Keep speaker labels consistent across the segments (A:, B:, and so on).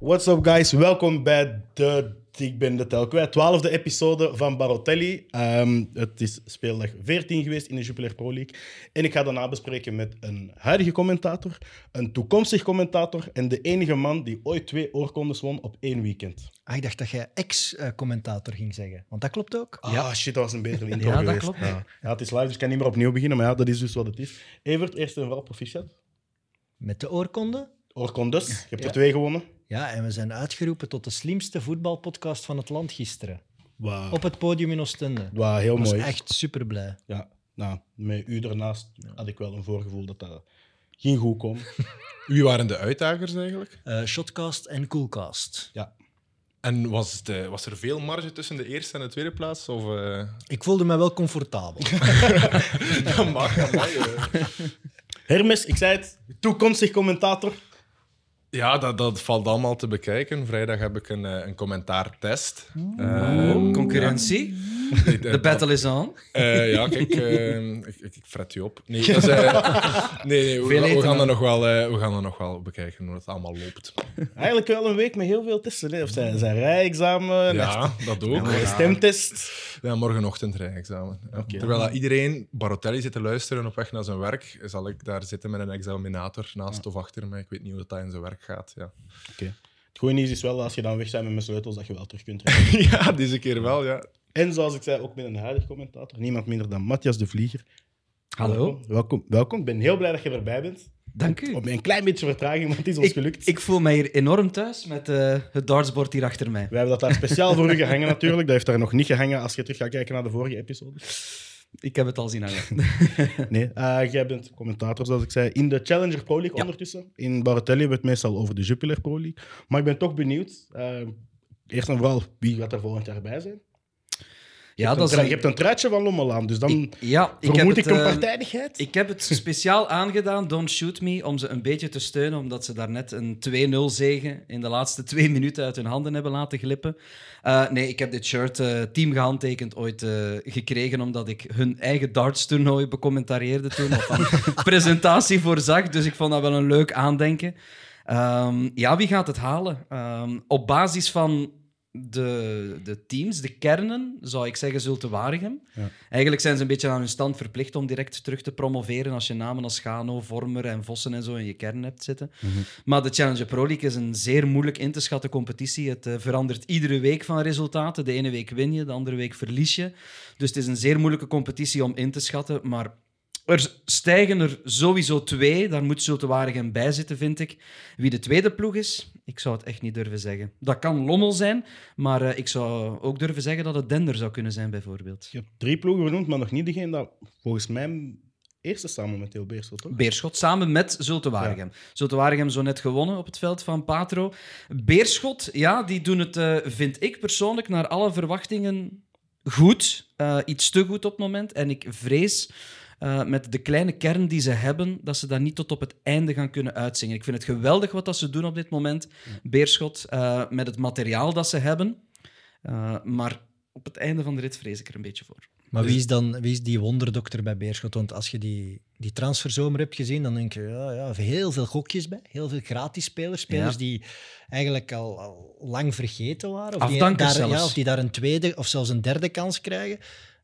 A: What's up, guys? Welkom bij de. Ik ben de tel kwijt. Twaalfde episode van Barotelli. Ehm, het is speeldag 14 geweest in de Jupiler Pro League. En ik ga daarna bespreken met een huidige commentator, een toekomstig commentator en de enige man die ooit twee oorkondes won op één weekend.
B: Ah, ik dacht dat jij ex-commentator ging zeggen. Want dat klopt ook.
A: Ah, shit, dat was een betere intro
B: Ja, dat
A: geweest.
B: klopt.
A: Ja. Ja, het is live, dus ik kan niet meer opnieuw beginnen, maar ja, dat is dus wat het is. Evert, eerst en vooral proficiat.
B: Met de oorkonde.
A: Oorkondes, je hebt
B: Ja.
A: er twee gewonnen.
B: Ja, en we zijn uitgeroepen tot de slimste voetbalpodcast van het land gisteren.
A: Wauw,
B: Op het podium in Oostende. Ik
A: Wauw, heel
B: was
A: mooi.
B: echt super blij.
A: Ja, nou, met u daarnaast had ik wel een voorgevoel dat dat ging goed komen.
C: Wie waren de uitdagers eigenlijk?
B: Eh, Shotcast en Coolcast.
A: Ja.
C: En was, het, eh, was er veel marge tussen de eerste en de tweede plaats? Of, eh,
B: Ik voelde me wel comfortabel.
C: dat mag, dat mag. eh.
A: Hermes, ik zei het, toekomstig commentator.
C: Ja, dat, dat valt allemaal te bekijken. Vrijdag heb ik een, eh, een commentaartest. Ehm,
D: Oh, concurrentie. De battle is on.
C: Eh, ja, kijk, eh, ik, ik, ik fret u op. Nee, dat is, eh, nee, nee, we,
D: Veel
C: gaan- we
D: eten,
C: gaan
D: hè?
C: er nog wel, eh, we gaan er nog wel bekijken hoe het allemaal loopt.
A: Eigenlijk wel een week met heel veel testen. Hè? Of zijn, zijn rijexamen, ja.
C: Ja, dat ook.
A: stemtest.
C: Ja, morgenochtend rijexamen. Ja. Terwijl dat iedereen Barotelli zit te luisteren op weg naar zijn werk, zal ik daar zitten met een examinator naast of achter mij. Ik weet niet hoe dat, dat in zijn werk gaat. Ja.
A: Het goede nieuws is wel, als je dan weg bent met mijn sleutels, dat je wel terug kunt rijden.
C: ja, deze keer wel, ja.
A: En zoals ik zei, ook met een huidig commentator. Niemand minder dan Matthias de Vlieger.
D: Hallo,
A: Welkom, welkom. Ik ben heel blij dat je erbij bent.
D: dank u.
A: Op een klein beetje vertraging, maar het is ons
D: Ik,
A: gelukt.
D: ik voel mij hier enorm thuis met eh, het dartsbord hier achter mij.
A: We hebben dat daar speciaal voor u gehangen natuurlijk. Dat heeft daar nog niet gehangen als je terug gaat kijken naar de vorige episode.
D: Ik heb het al zien hangen.
A: Nee, eh, jij bent commentator, zoals ik zei, in de Challenger Pro League ondertussen. In Baratelli hebben we het meestal over de Jupiler Pro League. Maar ik ben toch benieuwd, eh, eerst en vooral, wie gaat er volgend jaar bij zijn?
D: Ja,
A: je, hebt een,
D: een-
A: je hebt een truitje van Lommel aan, dus dan
D: Ik- ja, ik heb
A: vermoed ik
D: het,
A: een
D: eh,
A: partijdigheid.
D: Ik heb het speciaal aangedaan, Don't Shoot Me, om ze een beetje te steunen, omdat ze daarnet een 2-0 zegen in de laatste twee minuten uit hun handen hebben laten glippen. Eh, nee, ik heb dit shirt eh, team gehandtekend ooit eh, gekregen, omdat ik hun eigen darts-toernooi becommentarieerde toen, of een presentatie voorzag. Dus ik vond dat wel een leuk aandenken. Ehm, ja, wie gaat het halen? Ehm, op basis van de, de teams, de kernen, zou ik zeggen, Zulte Waregem. Eigenlijk zijn ze een beetje aan hun stand verplicht om direct terug te promoveren als je namen als Gano, Vormer en Vossen en zo in je kern hebt zitten. Maar de Challenger Pro League is een zeer moeilijk in te schatten competitie. Het eh, verandert iedere week van resultaten. De ene week win je, de andere week verlies je. Dus het is een zeer moeilijke competitie om in te schatten. Maar er stijgen er sowieso twee. Daar moet Zulte Waregem bij zitten, vind ik. Wie de tweede ploeg is, ik zou het echt niet durven zeggen. Dat kan Lommel zijn, maar eh, ik zou ook durven zeggen dat het Dender zou kunnen zijn, bijvoorbeeld.
A: Je hebt drie ploegen genoemd, maar nog niet degene dat volgens mij eerste samen momenteel Beerschot, toch?
D: Beerschot samen met Zulte Waregem. Zulte Waregem zo net gewonnen op het veld van Patro. Beerschot, ja, die doen het, eh, vind ik persoonlijk, naar alle verwachtingen goed. Eh, iets te goed op het moment. En ik vrees eh, met de kleine kern die ze hebben, dat ze dat niet tot op het einde gaan kunnen uitzingen. Ik vind het geweldig wat dat ze doen op dit moment. Beerschot, eh, met het materiaal dat ze hebben. Eh, maar op het einde van de rit vrees ik er een beetje voor.
B: Maar wie is, dan, wie is die wonderdokter bij Beerschot? Want als je die, die transferzomer hebt gezien, dan denk je, ja, ja, heel veel gokjes bij. Heel veel gratis spelers. Spelers
D: Ja.
B: die eigenlijk al, al lang vergeten waren. Of
D: Afdankers
B: die, daar,
D: zelfs.
B: Ja, of die daar een tweede of zelfs een derde kans krijgen.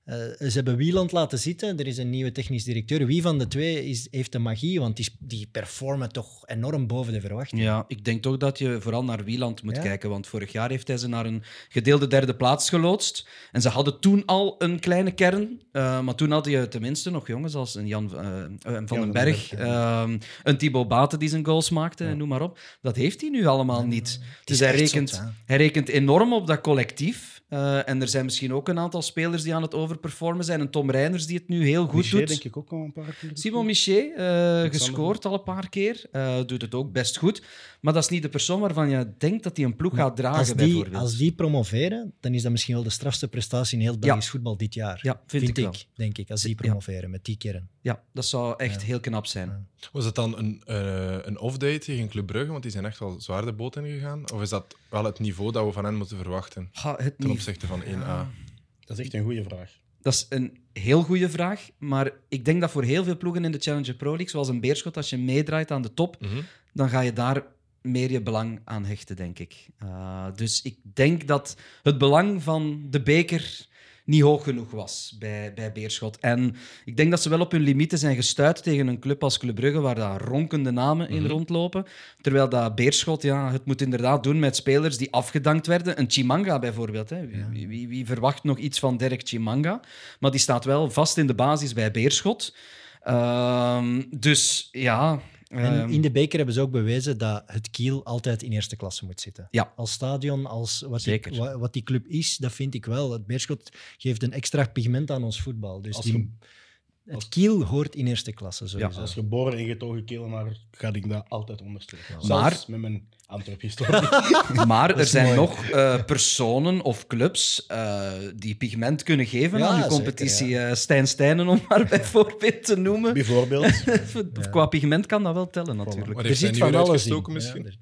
B: Eh, ze hebben Wieland laten zitten. Er is een nieuwe technisch directeur. Wie van de twee is, heeft de magie? Want die, die performen toch enorm boven de verwachting.
D: Ja, ik denk toch dat je vooral naar Wieland moet
B: Ja.
D: kijken. Want vorig jaar heeft hij ze naar een gedeelde derde plaats geloodst. En ze hadden toen al een kleine kern. eh, maar toen had je tenminste nog jongens als een Jan eh, eh, van den
A: den
D: Berg,
A: Berg,
D: ehm, een Thibaut Baten die zijn goals maakte, en noem maar op. Dat heeft hij nu allemaal niet. Dus hij
B: echt
D: rekent,
B: zot, hè?
D: hij rekent enorm op dat collectief. Eh, en er zijn misschien ook een aantal spelers die aan het overperformen zijn. En Tom Reiners die het nu heel goed
A: Miché,
D: doet.
A: denk ik ook al een paar keer.
D: Simon Miché, eh, gescoord al een paar keer. eh, doet het ook best goed. Maar dat is niet de persoon waarvan je denkt dat hij een ploeg gaat dragen,
B: Als die,
D: bijvoorbeeld.
B: als die promoveren, dan is dat misschien wel de strafste prestatie in heel het Belgisch voetbal dit jaar.
D: Ja, vind ik wel.
B: denk ik. Als die
D: Ja.
B: promoveren met die kern.
D: Ja, dat zou echt heel knap zijn.
C: Was dat dan een, eh, een off-day tegen Club Brugge? Want die zijn echt wel zwaar de boot ingegaan. Of is dat wel het niveau dat we van hen moeten verwachten
D: Ha, het
C: ten
D: niet.
C: opzichte van 1A?
A: Dat is echt een goede vraag.
D: Dat is een heel goede vraag. Maar ik denk dat voor heel veel ploegen in de Challenger Pro League, zoals een Beerschot, als je meedraait aan de top,
C: Mhm.
D: dan ga je daar meer je belang aan hechten, denk ik. Eh, dus ik denk dat het belang van de beker niet hoog genoeg was bij, bij Beerschot. En ik denk dat ze wel op hun limieten zijn gestuurd tegen een club als Club Brugge, waar daar ronkende namen in
B: Mhm.
D: rondlopen. Terwijl dat Beerschot ja, het moet inderdaad doen met spelers die afgedankt werden. Een Chimanga bijvoorbeeld. Hè. Wie, wie, wie verwacht nog iets van Dirk Chimanga? Maar die staat wel vast in de basis bij Beerschot. Ehm, dus ja...
B: En
D: ehm,
B: in de beker hebben ze ook bewezen dat het Kiel altijd in eerste klasse moet zitten.
D: Ja.
B: Als stadion, als wat,
D: Zeker.
B: Die, wa- wat die club is, dat vind ik wel. Het Beerschot geeft een extra pigment aan ons voetbal. Dus
A: Als
B: die-
A: je-
B: het Kiel hoort in eerste klasse sowieso.
A: Dus Als geboren en getogen Kelenaar ga ik dat altijd onderstrepen.
D: Maar-
A: Zelfs met mijn Antwerp-historie.
D: Maar er
B: is
D: zijn
B: mooi.
D: nog eh, personen of clubs eh, die pigment kunnen geven
B: Ja,
D: aan die
B: zeker,
D: competitie. Eh, Stijn Stijnen, om maar bijvoorbeeld te noemen.
A: Bijvoorbeeld.
D: Of Qua pigment kan dat wel tellen, natuurlijk.
C: Maar
B: Je
C: heeft hij
B: ziet
C: niet
B: van
C: weer
B: alles
C: uitgestoken
B: in.
C: misschien?
B: Ja, er-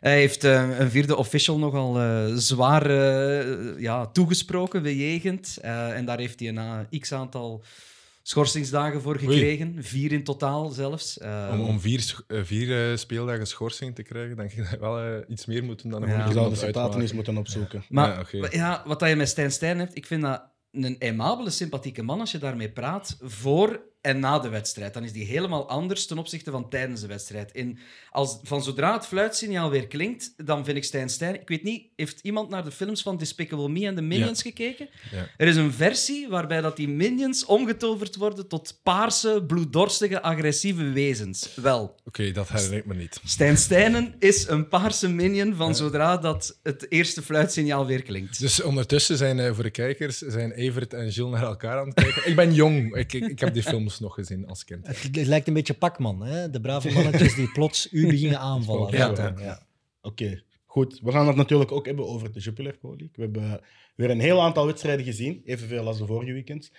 D: Hij heeft eh, een vierde official nogal eh, zwaar eh, ja, toegesproken, bejegend. Eh, en daar heeft hij een eh, x-aantal schorsingsdagen voor gekregen. Vier in totaal zelfs.
B: Oh,
D: Eh,
C: Om, om vier, sch- eh, vier eh, speeldagen schorsing te krijgen, denk ik dat we wel eh, iets meer moeten dan een
D: Ja.
A: Je
C: moeilijke
A: zou de
C: iemand
A: citaten eens
C: uitmaken.
A: moeten opzoeken.
D: Maar
C: Ja, oké.
D: wa- ja, wat dat je met Stijn Stijn hebt, ik vind dat een aimabele, sympathieke man als je daarmee praat voor en na de wedstrijd. Dan is die helemaal anders ten opzichte van tijdens de wedstrijd. En als, van zodra het fluitsignaal weer klinkt, dan vind ik Stijn Stijn... Ik weet niet, heeft iemand naar de films van Despicable Me en de Minions gekeken?
C: Ja.
D: Er is een versie waarbij dat die Minions omgetoverd worden tot paarse, bloeddorstige, agressieve wezens. Wel...
C: Oké, dat herinner ik me niet.
D: Stijn Stijnen is een paarse minion van zodra dat het eerste fluitsignaal weer klinkt.
C: Dus ondertussen zijn eh, voor de kijkers zijn Evert en Gilles naar elkaar aan het kijken. ik ben jong, ik, ik, ik heb die films nog gezien als kind.
B: het, het lijkt een beetje Pakman, hè? de brave mannetjes die plots u beginnen aanvallen.
C: Ja,
B: Dat
C: ja.
B: dan, ja.
A: Oké, goed. We gaan het natuurlijk ook hebben over de Jupiler Pro League. We hebben weer een heel aantal wedstrijden gezien, evenveel als de vorige weekend.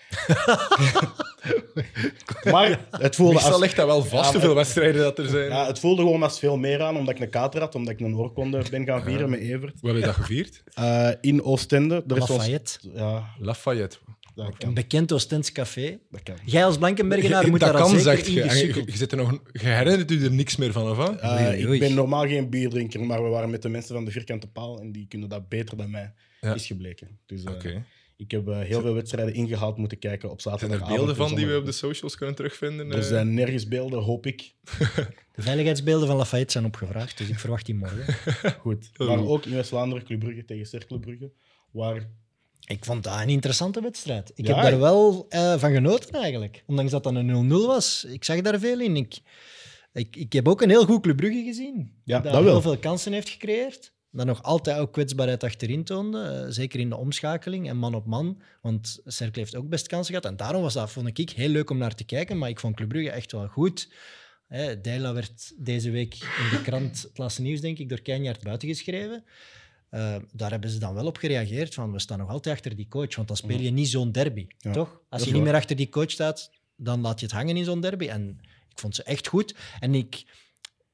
A: maar het voelde,
C: Meestal
A: als,
C: ligt dat wel vast,
A: Ja,
C: hoeveel wedstrijden dat er zijn.
A: ja, het voelde gewoon als veel meer aan, omdat ik een kater had, omdat ik een oorkonde ben gaan vieren met Evert.
C: Hoe hebben we dat gevierd?
A: Eh, in Oostende. Er is ons-
B: Lafayette,
A: Ja,
C: Lafayette.
A: dat
B: een
A: kan.
B: bekend Oostends café.
A: Dat kan.
B: Jij als Blankenbergenaar moet
C: dat
B: daar al
C: kan,
B: zeker
C: zegt
B: in
C: je. En je,
B: gesukkeld
C: je zit er nog, je herinnert u er niks meer van, of wat?
A: Eh,
B: Oei, oei.
A: ik ben normaal geen bierdrinker, maar we waren met de mensen van de vierkante paal en die kunnen dat beter dan mij,
C: Ja.
A: is gebleken. Dus eh,
C: Oké.
A: ik heb eh, heel veel wedstrijden ingehaald moeten kijken op
C: Zijn er
A: zaterdagavond.
C: beelden
A: en
C: van die we op de
A: zondagavond.
C: socials kunnen terugvinden?
A: Er
C: eh?
A: zijn nergens beelden, hoop ik.
B: De veiligheidsbeelden van Lafayette zijn opgevraagd, dus ik verwacht die morgen.
A: Goed.
C: Heel
A: Maar
C: goed.
A: ook in West-Vlaanderen, Club Brugge tegen Cercle Brugge. Waar,
B: Ik vond dat een interessante wedstrijd. Ik
A: Ja,
B: heb daar
A: ik-
B: wel eh, van genoten eigenlijk. Ondanks dat dat een 0-0 was. Ik zag daar veel in. Ik, ik, ik heb ook een heel goed Club Brugge gezien.
A: Ja,
B: dat
A: dat wel.
B: heel veel kansen heeft gecreëerd. Dat nog altijd ook kwetsbaarheid achterin toonde. eh, zeker in de omschakeling en man op man. Want Cercle heeft ook best kansen gehad. En daarom was dat, vond ik, heel leuk om naar te kijken. Maar ik vond Club Brugge echt wel goed. Hè, Deila werd deze week in de krant Het Laatste Nieuws, denk ik, door Keinjaard buitengeschreven. Eh, daar hebben ze dan wel op gereageerd van, we staan nog altijd achter die coach, want dan speel je niet zo'n derby,
A: Ja,
B: toch? Als
A: is
B: je niet
A: waar.
B: meer achter die coach staat, dan laat je het hangen in zo'n derby. En ik vond ze echt goed. En ik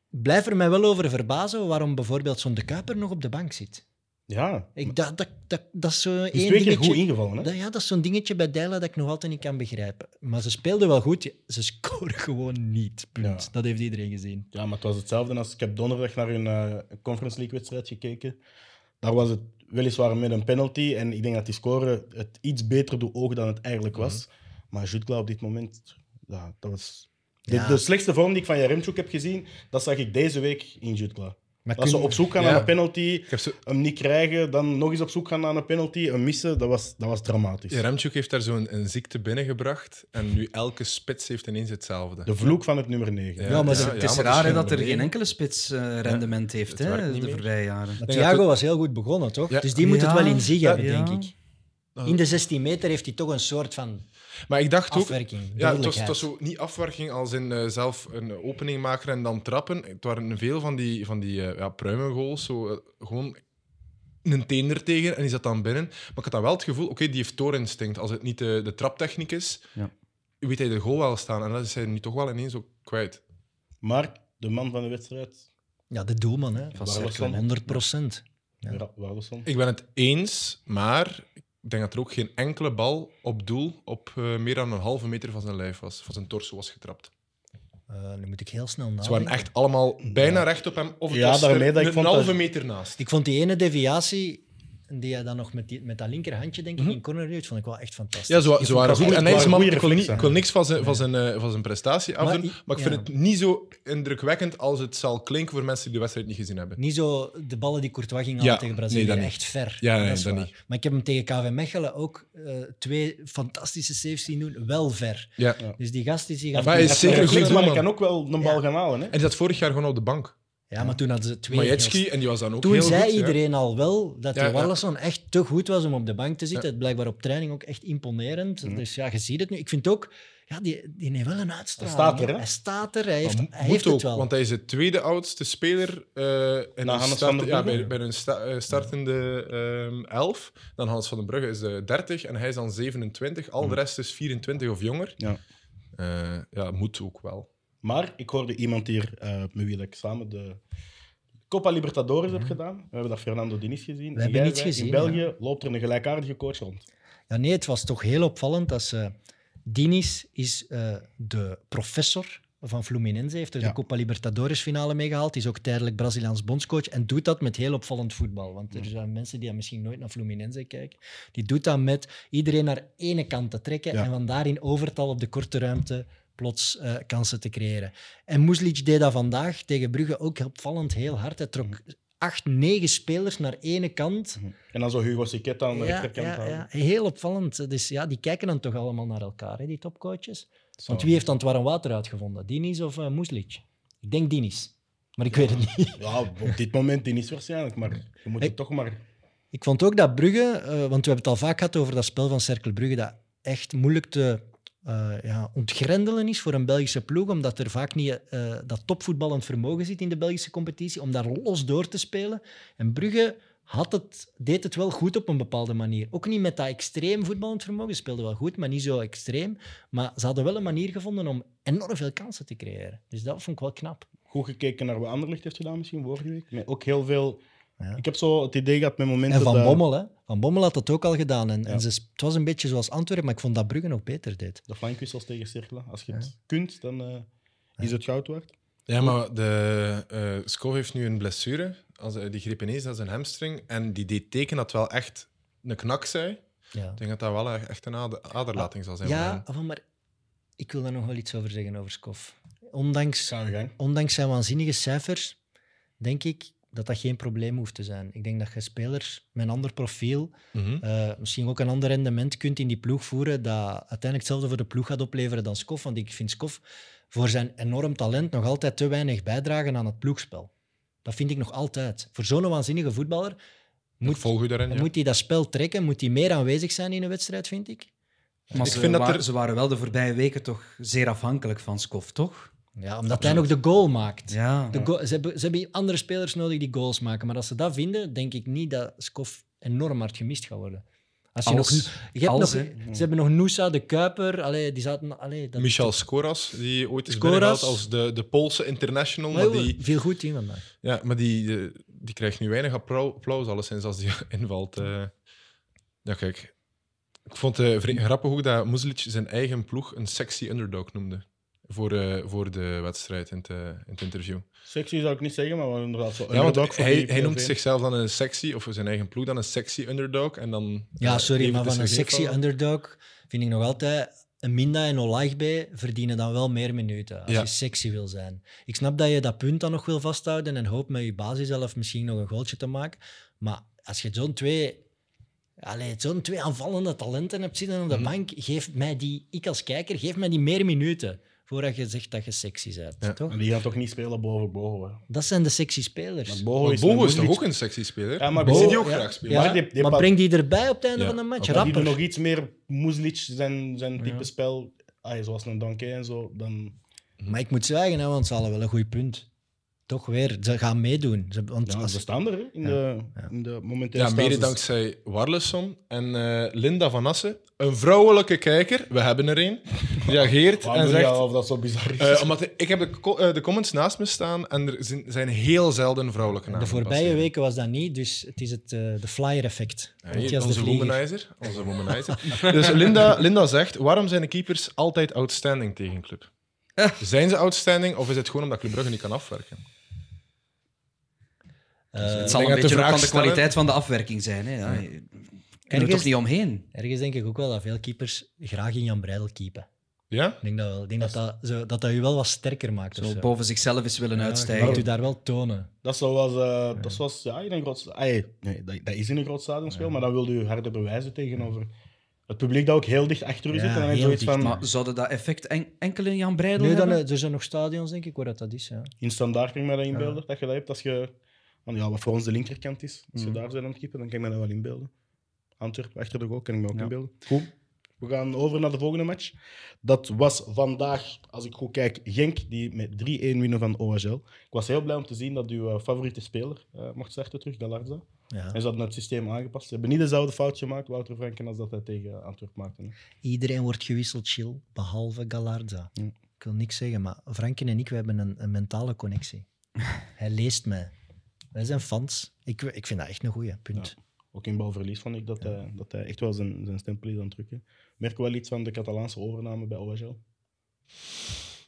B: blijf er mij wel over verbazen waarom bijvoorbeeld zo'n De Kuiper nog op de bank zit.
A: ja,
B: Ik, dat, dat, dat, dat is zo
A: die is
B: één
A: twee keer
B: dingetje-
A: goed ingevallen. Hè?
B: dat, ja, dat is zo'n dingetje bij Deila dat ik nog altijd niet kan begrijpen. Maar ze speelden wel goed, ze scoren gewoon niet, punt.
A: Ja.
B: Dat heeft iedereen gezien.
A: Ja, maar het was hetzelfde als ik heb donderdag naar een eh, Conference League-wedstrijd gekeken. Daar was het weliswaar met een penalty. En ik denk dat die score het iets beter doet ogen dan het eigenlijk was.
C: Mhm.
A: Maar Jutkla op dit moment, ja, dat was... De,
B: Ja.
A: de slechtste vorm die ik van Jaremchuk heb gezien, dat zag ik deze week in Jutkla.
B: Maar
A: Als ze
B: kun-
A: op zoek gaan
C: Ja.
A: naar een penalty,
C: Ik heb zo...
A: hem niet krijgen, dan nog eens op zoek gaan naar een penalty, een missen, dat was, dat was dramatisch.
C: Ja, Remchuk heeft daar zo'n een ziekte binnengebracht en nu elke spits heeft ineens hetzelfde.
A: De vloek van het nummer 9.
C: Ja,
B: Ja, maar
D: Het is,
B: Ja,
D: het is
C: maar
D: raar hè,
C: geen
D: dat er
C: probleem.
D: geen enkele spits eh, rendement
C: het
D: heeft hè,
C: werkt
D: de
C: niet meer.
D: voorbije jaren.
B: Maar
C: denk dat
B: Thiago
C: het-
B: was heel goed begonnen, toch?
C: Ja.
B: Dus die moet het wel in zich
D: Ja.
B: hebben,
D: Ja.
B: denk ik. In de 16 meter heeft hij toch een soort van
C: Maar ik dacht ook,
B: afwerking.
C: Ja, het was,
B: duidelijkheid.
C: het was zo niet afwerking als in eh, zelf een opening maken en dan trappen. Het waren veel van die, van die eh, ja, pruimengoals. Zo, eh, gewoon een teender tegen en die zat dan binnen. Maar ik had dan wel het gevoel, oké, die heeft toorinstinct. Als het niet de, de traptechniek is,
D: Ja.
C: weet hij de goal wel staan. En dat is hij nu toch wel ineens ook kwijt.
A: Mark, de man van de wedstrijd,
B: Ja, de doelman, hè.
D: Van
A: Waar was
D: Cercle,
A: dan?
D: hè.
B: 100 procent. Ja.
A: Ra- Warleson.
C: Ik ben het eens, maar ik denk dat er ook geen enkele bal op doel op eh, meer dan een halve meter van zijn lijf was, van zijn torso was getrapt.
B: Eh, nu moet ik heel snel
C: Ze waren
B: nadenken.
C: echt allemaal bijna recht op hem. Of het
A: Ja,
C: was er
A: daarmee dat ik
C: een
A: vond dat-
C: halve meter naast.
B: Ik vond die ene deviatie, die hij dan nog met, die, met dat linkerhandje denk ik, in corner duwt, vond ik wel echt fantastisch.
C: Mhm. Ja, ze, wa-
B: Ik
C: ze
B: vond
C: waren
B: dat
C: goed.
B: echt-
C: En hij is
A: waren
C: man,
A: goeie
C: ik wil, niet,
A: reflexen.
C: ik wil niks van zijn, van zijn, eh, van zijn prestatie
B: Maar
C: afdoen.
B: i-
C: Maar, ik vind
B: ja.
C: het niet zo indrukwekkend als het zal klinken voor mensen die de wedstrijd niet gezien hebben.
B: Niet zo de ballen die Courtois ging halen
C: Ja,
B: tegen
C: nee,
B: Brazilië,
C: dat niet.
B: echt ver.
C: Ja, nee,
B: dat is
C: dat
B: waar.
C: niet.
B: Maar ik heb hem tegen KV Mechelen ook eh, twee fantastische saves zien doen, wel ver.
C: Ja.
A: Ja.
B: Dus die gast is hier...
C: Maar hij is zeker
A: Zeker
C: een
A: goed,
C: goede
A: maar hij
C: doelman.
A: kan ook wel een bal gaan halen. Hè?
C: En die zat vorig jaar gewoon op de bank.
B: Ja, maar toen hadden ze twee...
C: Majetski, en die was dan ook
B: Toen
C: heel
B: zei
C: goed. ja.
B: iedereen al wel dat
C: Ja,
B: de
C: ja.
B: Wallason echt te goed was om op de bank te zitten.
C: Ja. Mhm.
B: Het blijkbaar op training ook echt imponerend. Dus ja, je ziet het nu. Ik vind ook, ja, die, die heeft wel een
A: Hij
B: uitstraling.
A: staat er, hè?
B: Hij staat er, hij
C: Maar
B: heeft,
C: mo-
B: hij
C: moet
B: heeft
C: ook,
B: het wel.
C: Want hij is de tweede oudste speler eh, in
A: Na
C: hun
A: Hannes
C: start-
A: van den
C: ja,
A: Brugge.
C: bij, bij hun sta- eh, startende ehm, elf. Dan Hans van den Brugge is de 30 en hij is dan 27.
B: Hm.
C: Al de rest is 24 of jonger.
A: Ja.
C: Eh, ja, moet ook wel.
A: Maar ik hoorde iemand hier eh, met wie ik samen de Copa Libertadores heb gedaan. We hebben dat Fernando Diniz gezien. En
B: Mhm. hebben
A: jij
B: niets
A: zei,
B: gezien,
A: In België loopt er een gelijkaardige coach rond.
B: Ja, nee, het was toch heel opvallend dat ze... Dinis is eh, de professor van Fluminense, heeft er
A: Ja.
B: de Copa Libertadores finale meegehaald, is ook tijdelijk Braziliaans bondscoach en doet dat met heel opvallend voetbal. Want er zijn mensen die misschien nooit naar Fluminense kijken. Die doet dat met iedereen naar ene kant te trekken
A: Ja.
B: en van daar in overtal op de korte ruimte plots eh, kansen te creëren. En Muslic deed dat vandaag tegen Brugge ook opvallend heel hard. Hij trok acht, negen spelers naar ene kant
A: En dan zo Hugo Siqueta aan de rechterkant
B: ja,
A: houden.
B: ja. Heel opvallend. Dus ja, die kijken dan toch allemaal naar elkaar, hè, die topcoaches.
A: Zo.
B: Want wie heeft dan het warm water uitgevonden? Dinis of eh Muslic? Ik denk Dinis. Maar ik weet het niet.
A: Ja, op dit moment Diniz waarschijnlijk, maar je moet het
B: Ik-
A: toch maar...
B: Ik vond ook dat Brugge, eh, want we hebben het al vaak gehad over dat spel van Cercle Brugge, dat echt moeilijk te eh, ja, ontgrendelen is voor een Belgische ploeg, omdat er vaak niet eh dat topvoetballend vermogen zit in de Belgische competitie, om daar los door te spelen. En Brugge had het, deed het wel goed op een bepaalde manier. Ook niet met dat extreem voetballend vermogen. Ze speelden wel goed, maar niet zo extreem. Maar ze hadden wel een manier gevonden om enorm veel kansen te creëren. Dus dat vond ik wel knap.
A: Goed gekeken naar wat Anderlecht heeft gedaan misschien vorige week. Met ook heel veel...
B: Ja.
A: Ik heb zo het idee gehad met momenten
B: En Van
A: dat...
B: Bommel, hè? Van Bommel had dat ook al gedaan. En,
A: Ja.
B: en ze, sp- het was een beetje zoals Antwerpen, maar ik vond dat Brugge nog beter deed.
A: De flankwissels tegen Cirkelen. Als je het kunt, dan eh, is het goud waard.
C: Ja, maar de, eh Skov heeft nu een blessure. Als, hij- die greep ineens aan zijn hamstring. En die deed teken dat wel echt een knak zei. Ik
B: Ja,
C: denk dat dat wel e-, echt een ader- aderlating zal zijn. voor
B: ja
C: hem.
B: enfin, maar ik wil daar nog wel iets over zeggen over Skof. Ondanks,
A: Gaan we gang.
B: ondanks zijn waanzinnige cijfers, denk ik dat dat geen probleem hoeft te zijn. Ik denk dat je spelers met een ander profiel,
C: Mhm.
B: eh, misschien ook een ander rendement kunt in die ploeg voeren, dat uiteindelijk hetzelfde voor de ploeg gaat opleveren dan Skof. Want ik vind Skof voor zijn enorm talent nog altijd te weinig bijdragen aan het ploegspel. Dat vind ik nog altijd. Voor zo'n waanzinnige voetballer
C: Ik
B: moet,
C: volg u daarin. ja.
B: moet hij dat spel trekken, moet hij meer aanwezig zijn in een wedstrijd, vind ik.
D: Maar
C: Ik
D: ze,
C: vind dat
D: wa-
C: er-
D: ze waren wel de voorbije weken toch zeer afhankelijk van Skof, toch?
B: Ja, omdat hij nog de goal maakt.
D: Ja.
B: De go- ze, hebben, ze hebben andere spelers nodig die goals maken. Maar als ze dat vinden, denk ik niet dat Skof enorm hard gemist gaat worden. Als je
D: Als-
B: nog, je hebt
D: als,
B: nog,
D: hè. Eh,
B: ze hebben nog Noosa, de Kuiper. Allee, die zaten, allee, dat,
C: Michel Skoras, die ooit is
B: Skoras.
C: binnengehaald als de, de Poolse international.
B: maar
C: Maar
B: joh,
C: die,
B: Veel goed in vandaag.
C: ja, maar die, eh, die krijgt nu weinig appro- applaus, alleszins, als die invalt. eh. Ja, kijk. Ik vond het grappig ook dat Muslic zijn eigen ploeg een sexy underdog noemde. Voor, eh, voor de wedstrijd in het, eh, in het interview.
A: Sexy zou ik niet zeggen, maar wel inderdaad zo.
C: ja,
A: underdog
C: want
A: voor
C: hij,
A: die
C: hij noemt
A: PSV.
C: zichzelf dan een sexy, of zijn eigen ploeg dan een sexy underdog. En dan,
B: Ja,
C: eh,
B: sorry,
C: even
B: maar van een
C: tussen
B: sexy
C: gevallen.
B: underdog vind ik nog altijd... Een Minda en Olagbe verdienen dan wel meer minuten als
C: Ja.
B: je sexy wil zijn. Ik snap dat je dat punt dan nog wil vasthouden en hoopt met je basis zelf misschien nog een goaltje te maken. Maar als je zo'n twee, allee, zo'n twee aanvallende talenten hebt zitten op de
C: Mhm.
B: bank, geef mij die, ik als kijker, geef mij die meer minuten voordat je zegt dat je sexy bent.
C: Ja.
B: Toch?
A: En die gaan toch niet spelen boven Bogo, hè?
B: Dat zijn de sexy spelers.
A: Want Bogo
C: Maar Bogo
A: met
C: is toch
A: Moeilijk-
C: ook een sexy speler?
A: Ja, maar
C: Ik
A: Bogo-
C: zie die ook
B: Ja,
C: graag spelen.
B: ja,
A: Maar
B: maar
A: die- die pad-
B: breng die erbij op het einde
C: Ja.
B: van de match.
A: Maar die doen
B: Rapper.
A: nog iets meer Muzlic, zijn, zijn type
D: Ja.
A: spel. Ah, ja, zoals een Donkey en zo. Dan,
B: Maar ik moet zwijgen, hè, want ze hadden wel een goed punt. Toch weer, ze gaan meedoen. Ze, want
A: ja,
B: als-
A: ze staan er hè, in, de, in de momentele
C: Ja, mede
A: status.
C: dankzij Warleson en eh, Linda van Assen. Een vrouwelijke kijker, we hebben er een, reageert
A: Waarom
C: en
A: doe je
C: zegt...
A: dat of dat zo bizar is.
C: eh, omdat, ik heb de, co- eh, de comments naast me staan en er zijn- zijn heel zelden vrouwelijke namen.
B: de voorbije
C: passeren.
B: weken was dat niet, dus het is het, eh, de flyer-effect.
C: Ja,
B: Weet je,
C: hier,
B: als de
C: onze
B: vlieger.
C: womanizer. Onze womanizer. dus Linda, Linda zegt, waarom zijn de keepers altijd outstanding tegen club? Zijn ze outstanding of is het gewoon omdat Club Brugge niet kan afwerken?
D: Het
B: Eh,
D: zal
C: Ik denk dat
D: een
C: de
D: beetje ook
C: vraag
D: van de
C: stellen-
D: kwaliteit van de afwerking zijn. Hè? Ja, je- je kunt er
B: Ergens-
D: toch niet omheen?
B: ergens denk ik ook wel dat veel keepers graag in Jan Breidel keepen.
C: Ja?
B: Ik denk dat wel. Ik denk dat dat, zo, dat, dat je wel wat sterker maakt. of
D: Zo
B: zo.
D: boven zichzelf eens willen
B: Dus, Ja, Je moet
D: uitstijgen.
B: je daar wel tonen.
A: Dat was, dat zoals, ja, in een groot sta- ah, nee, nee, dat, dat is in een groot stadion speel, maar dan wilde je harde bewijzen tegenover het publiek dat ook heel dicht achter u
B: Ja,
A: zit. En dan heb je
B: heel
A: zoiets
B: dicht,
A: van,
D: Maar zouden dat effect en- enkel in Jan Breidel
B: Nu dan,
D: hebben?
B: eh, er zijn nog stadions, denk ik, waar dat, dat is. Ja.
A: in standaard kan ik me dat inbeelden, dat je dat hebt. Als je, want ja, wat voor ons de linkerkant is, als je
B: Mhm.
A: daar bent aan het keepen, dan kan ik me dat wel inbeelden. Antwerpen achter de goal kan ik me ook
D: Ja.
A: inbeelden. Goed. We gaan over naar de volgende match. Dat was vandaag, als ik goed kijk, Genk, die met 3-1 winnen van OHL. Ik was heel blij om te zien dat uw eh, favoriete speler eh, mocht starten terug, Galarza.
B: Ja.
A: En ze hadden het systeem aangepast. Ze hebben niet dezelfde fout gemaakt, Wouter Franken, als dat hij tegen Antwerpen maakte. hè.
B: Iedereen wordt gewisseld, chill, behalve Galarda.
A: Ja.
B: Ik wil niks zeggen, maar Franken en ik we hebben een, een mentale connectie. Hij leest mij. Wij zijn fans. Ik, ik vind dat echt een goeie, punt.
A: Ook in balverlies vond ik dat, hij, dat hij echt wel zijn, zijn stempel is aan het drukken. Merk wel iets van de Catalaanse overname bij OHL.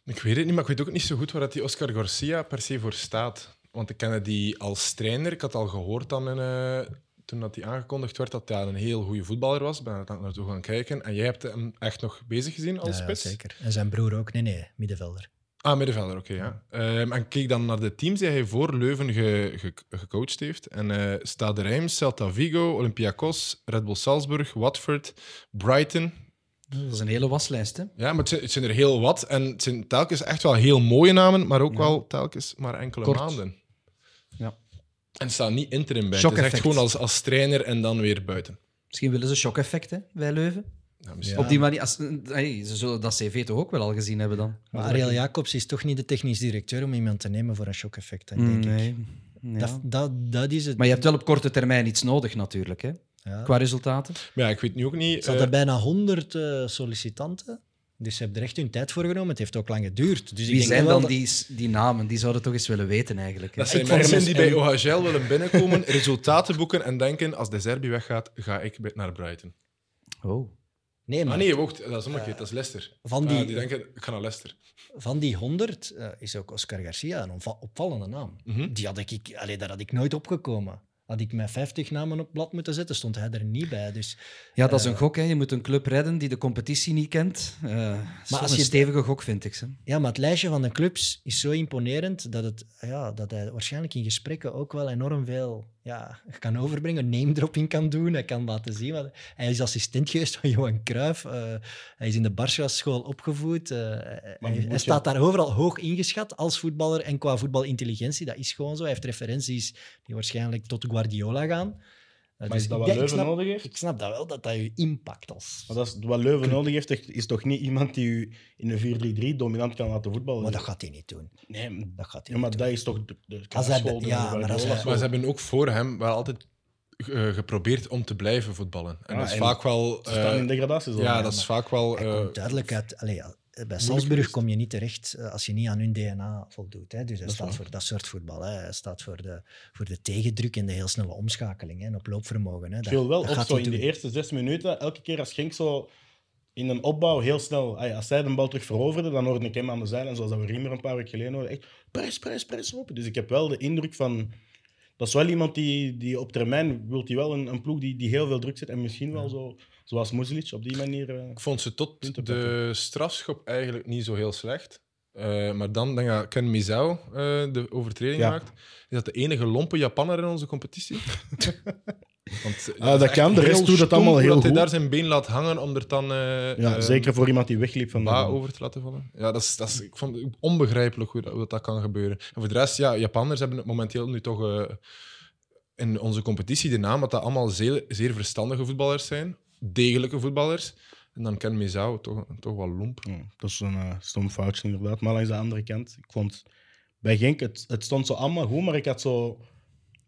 C: Ik weet het niet, maar ik weet ook niet zo goed waar dat die Oscar Garcia per se voor staat. Want ik kende die als trainer. Ik had al gehoord dan in, eh, toen dat die aangekondigd werd dat hij een heel goede voetballer was. Ik ben daar naartoe gaan kijken. En jij hebt hem echt nog bezig gezien als
B: Ja, ja,
C: spits?
B: zeker. En zijn broer ook. Nee, nee, middenvelder.
C: Ah, middenvelder, oké. ja. Ehm, en kijk dan naar de teams die hij voor Leuven ge- ge- gecoacht heeft. En eh Stade Reims, Celta Vigo, Olympiakos, Red Bull Salzburg, Watford, Brighton.
B: eh,
D: Dat is een hele waslijst, hè?
C: Ja, maar het zijn, het zijn er heel wat. En het zijn telkens echt wel heel mooie namen, maar ook
D: Ja.
C: wel telkens maar enkele
D: Kort.
C: maanden.
D: Ja.
C: En er staan niet interim bij.
D: Shock
C: het is echt
D: effect.
C: gewoon als, als trainer en dan weer buiten.
D: Misschien willen ze shock-effecten bij Leuven.
C: Ja, misschien.
B: Ja.
D: Op die manier, als, eh, hey, ze zullen dat CV toch ook wel al gezien hebben dan?
B: Maar Ariel Jacobs is toch niet de technisch directeur om iemand te nemen voor een shock-effect, denk ik.
D: Hmm, Ja.
B: Dat, dat, dat is het.
D: Maar je hebt wel op korte termijn iets nodig natuurlijk, hè?
B: Ja.
D: qua resultaten.
B: Dus
C: Maar ja, ik weet nu ook niet...
B: Er
C: eh,
B: zaten bijna 100 eh, sollicitanten. Dus ze hebben er echt hun tijd voor genomen. Het heeft ook lang geduurd. Dus ik
D: Wie
B: denk
D: zijn
B: wel
D: dan
B: dat-
D: die, s- die namen? Die zouden toch eens willen weten eigenlijk. hè?
C: Dat zijn
A: ik vond
C: mensen
A: hem
C: die
A: eens-
C: bij OHL willen binnenkomen, resultaten boeken en denken: als de Zerbi weggaat, ga ik bij- naar Brighton.
D: Oh.
B: Nee, maar
C: Ah nee, wacht, dat is omgekeerd, dat is Leicester.
B: van,
C: Ah,
B: die,
C: die denken: ik ga naar Leicester.
B: van die 100 eh, is ook Oscar Garcia een opva- opvallende naam.
C: Mhm.
B: Die had ik, ik, allee, daar had ik nooit opgekomen. Had ik mijn 50 namen op blad moeten zetten, stond hij er niet bij. Dus,
D: Ja, dat is een gok. Hè. Je moet een club redden die de competitie niet kent. maar
B: als
D: als je
B: je-
D: een stevige gok, vind ik ze.
B: ja, maar het lijstje van de clubs is zo imponerend dat, het, ja, dat hij waarschijnlijk in gesprekken ook wel enorm veel ja, kan overbrengen, name-dropping kan doen, hij kan laten zien. wat- hij is assistent geweest van Johan Cruijff, eh, hij is in de Barca-school opgevoed. eh, hij
A: moet
B: hij
A: je-
B: staat daar overal hoog ingeschat als voetballer en qua voetbalintelligentie, dat is gewoon zo. Hij heeft referenties die waarschijnlijk tot Guardiola gaan. Eh,
A: Maar is
B: ik
A: dat wat
B: denk- ik
A: Leuven
B: snap-
A: nodig heeft?
B: Ik snap dat wel, dat dat je impact als...
A: Maar dat is, wat Leuven nodig heeft, echt- is toch niet iemand die u in een 4-3-3 dominant kan laten voetballen?
B: Maar dat gaat hij niet doen.
A: Nee, maar-
B: Dat gaat hij
A: ja, maar
B: niet
A: dat
B: doen.
A: is toch de, de
B: Als hij-
A: kaasscholder
B: ja,
A: en de
B: maar als
A: Guardiola
B: hij-
A: zo.
C: Maar ze hebben ook voor hem wel altijd eh, geprobeerd om te blijven voetballen. En
A: Ja,
C: dat is
A: en
C: vaak wel.
A: Ze staan
C: eh,
A: in degradatie. zo.
C: ja, dat is vaak wel.
B: Hij
C: eh,
B: komt duidelijk uit... Allee, ja, bij Salzburg
C: geweest.
B: kom je niet terecht eh, als je niet aan hun DNA voldoet. Hè. Dus hij
A: is
B: staat
A: waar.
B: voor dat soort voetbal. Hè. Hij staat voor de, voor de tegendruk en de heel snelle omschakeling hè, en op loopvermogen. Hè.
A: Het
B: Dat,
A: viel wel
B: dat
A: op
B: gaat
A: zo
B: hij
A: in de
B: doen.
A: eerste zes minuten. Elke keer als Genk zo in een opbouw heel snel... ah ja, Als zij de bal terug veroverde, dan hoorde ik hem aan de zijlijn. Zoals dat we Riemer een paar weken geleden hoorden. Echt pres, pres, pres roepen. Dus ik heb wel de indruk van... Dat is wel iemand die, die op termijn... Wilt hij wel een, een ploeg die, die heel veel druk zit. En misschien wel zo, zoals Muzilic, op die manier... eh,
C: Ik vond ze
A: Punten
C: tot de strafschop eigenlijk niet zo heel slecht. Eh, maar dan denk ik dat Ken Mizou eh, de overtreding
A: Ja.
C: maakt. Is dat de enige lompe Japanner in onze competitie? Want, eh,
A: Ah, dat
C: is echt
A: kan. De rest
C: heel
A: doet het
C: stom
A: allemaal
C: hoe
A: heel
C: dat hij
A: goed.
C: daar zijn been laat hangen om er dan eh,
A: ja,
C: eh,
A: zeker voor iemand die wegliep van de
C: Ba
A: bal.
C: over te laten vallen. Ja, dat is, dat is ik vond het onbegrijpelijk hoe dat, hoe dat kan gebeuren. En voor de rest, ja, Japanners hebben het momenteel nu toch eh, in onze competitie de naam dat dat allemaal zeer, zeer verstandige voetballers zijn, degelijke voetballers. En dan Ken Mizou toch, toch wel lomp.
A: Ja, dat is een eh, stom foutje, inderdaad. Maar langs de andere kant, ik vond bij Genk, het, het stond zo allemaal goed, maar ik had zo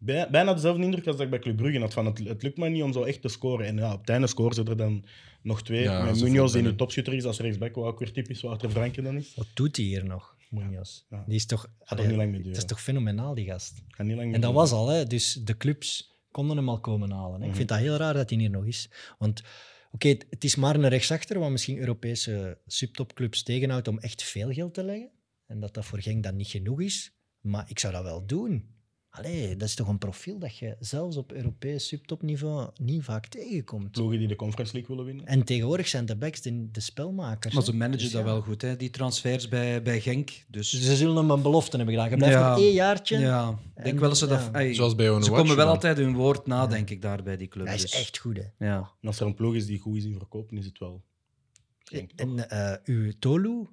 A: bij- bijna dezelfde indruk als dat ik bij Club Brugge had. Van het, het lukt maar niet om zo echt te scoren. En ja, op het einde scoren ze er dan nog twee.
C: Ja,
A: met
C: ze
A: Munoz, die
C: voelen-
A: nu topschutter is als rechtsback, wat ook weer typisch Wouter Franken dan is.
B: Wat doet hij hier nog, Munoz?
A: Ja.
B: Die is toch...
A: Gaat
B: allee,
A: ook niet lang meer
B: dat
A: duren.
B: Ah, is toch fenomenaal, die gast.
A: Gaat niet lang meer
B: En dat
D: Mhm.
A: duren.
B: was al, hè. dus de clubs konden hem al komen halen. Hè. Ik vind dat heel raar dat hij hier nog is. Want Oké, het- het is maar een rechtsachter, wat misschien Europese subtopclubs tegenhoudt om echt veel geld te leggen. En dat dat voor Genk dan niet genoeg is. Maar ik zou dat wel doen. Allee, dat is toch een profiel dat je zelfs op Europees subtopniveau niet vaak tegenkomt.
A: Ploegen die de Conference League willen winnen.
B: En tegenwoordig zijn de backs de, de spelmakers.
D: Maar
B: hè.
D: ze managen
B: Dus
D: dat
B: ja.
D: wel goed, hè? die transfers bij, bij Genk. Dus,
B: Dus ze zullen hem een belofte hebben gedaan. Je blijft
D: Ja.
B: nog één jaartje.
D: ja, ik denk wel dat ze dat.
B: ja.
D: ey,
C: Zoals bij Owen
D: ze
C: Watch,
D: komen wel
C: man.
D: altijd hun woord na, denk ik, daar bij die club.
B: Hij is
D: dus-
B: echt goed, hè.
D: Ja.
A: En als er een ploeg is die goed is in verkopen, is het wel. Genk, toch?
B: En eh uw Tolu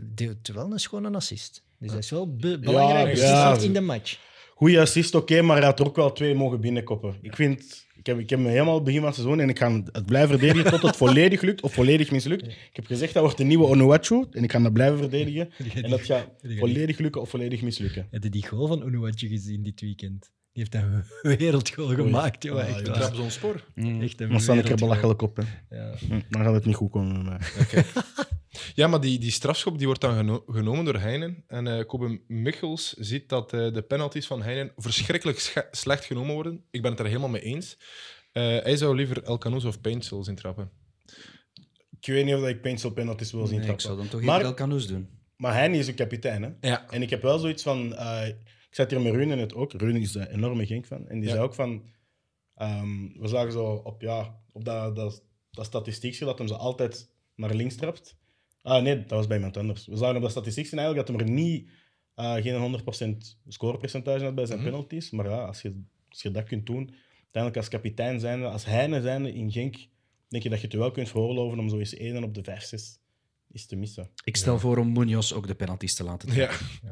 B: deed wel een schone assist. Dus dat is wel be-
A: ja.
B: belangrijk ja, in de match.
A: Goeie assist, oké, maar hij had er ook wel twee mogen binnenkoppen. Ik vind, ik heb, ik heb me helemaal begin van het seizoen en ik ga het blijven verdedigen tot het volledig lukt of volledig mislukt. Ik heb gezegd dat wordt de nieuwe Onuachu en ik ga dat blijven verdedigen. En dat gaat volledig lukken of volledig mislukken.
B: Heb je die goal van Onuatje gezien dit weekend? Die heeft een wereldgoal gemaakt, joh.
A: Ah, Ja,
B: Echt,
A: ja.
B: waar.
C: Trabzonspor.
B: Echt een
A: Dan sta ik er
B: wereldgoal.
A: belachelijk op. Hè.
B: Ja.
A: Hm, Dan gaat het niet goed komen met mij.
C: Ja, maar die, die strafschop die wordt dan geno- genomen door Heinen. En eh Kobe Michels ziet dat eh, de penalties van Heinen verschrikkelijk sche- slecht genomen worden. Ik ben het er helemaal mee eens. Eh, hij zou liever El Canoes of Paintsel zien trappen.
A: Ik weet niet of ik pencil penalties wil zien
D: Nee, ik
A: trappen.
D: zou dan toch
A: Maar-
D: even El Canoes doen.
A: Maar hij is een kapitein, hè?
C: Ja.
A: En ik heb wel zoiets van. eh, ik zat hier met Rune het ook. Rune is een enorme genk van. En die
C: Ja.
A: zei ook van. ehm, we zagen zo op, ja, op dat, dat, dat statistiekje dat hem ze altijd naar links trapt. Ah nee, dat was bij iemand anders. We zagen op dat statistiekje eigenlijk dat hem er niet, eh, geen 100% scorepercentage had bij zijn
C: Mhm.
A: penalties. Maar ja, als je, als je dat kunt doen, uiteindelijk als kapitein zijnde, als heine zijnde in Genk, denk je dat je het je wel kunt veroorloven om zo eens één op de 5, 6 is te missen.
D: Ik stel voor om Munoz ook de penalties te laten doen.
C: Ja.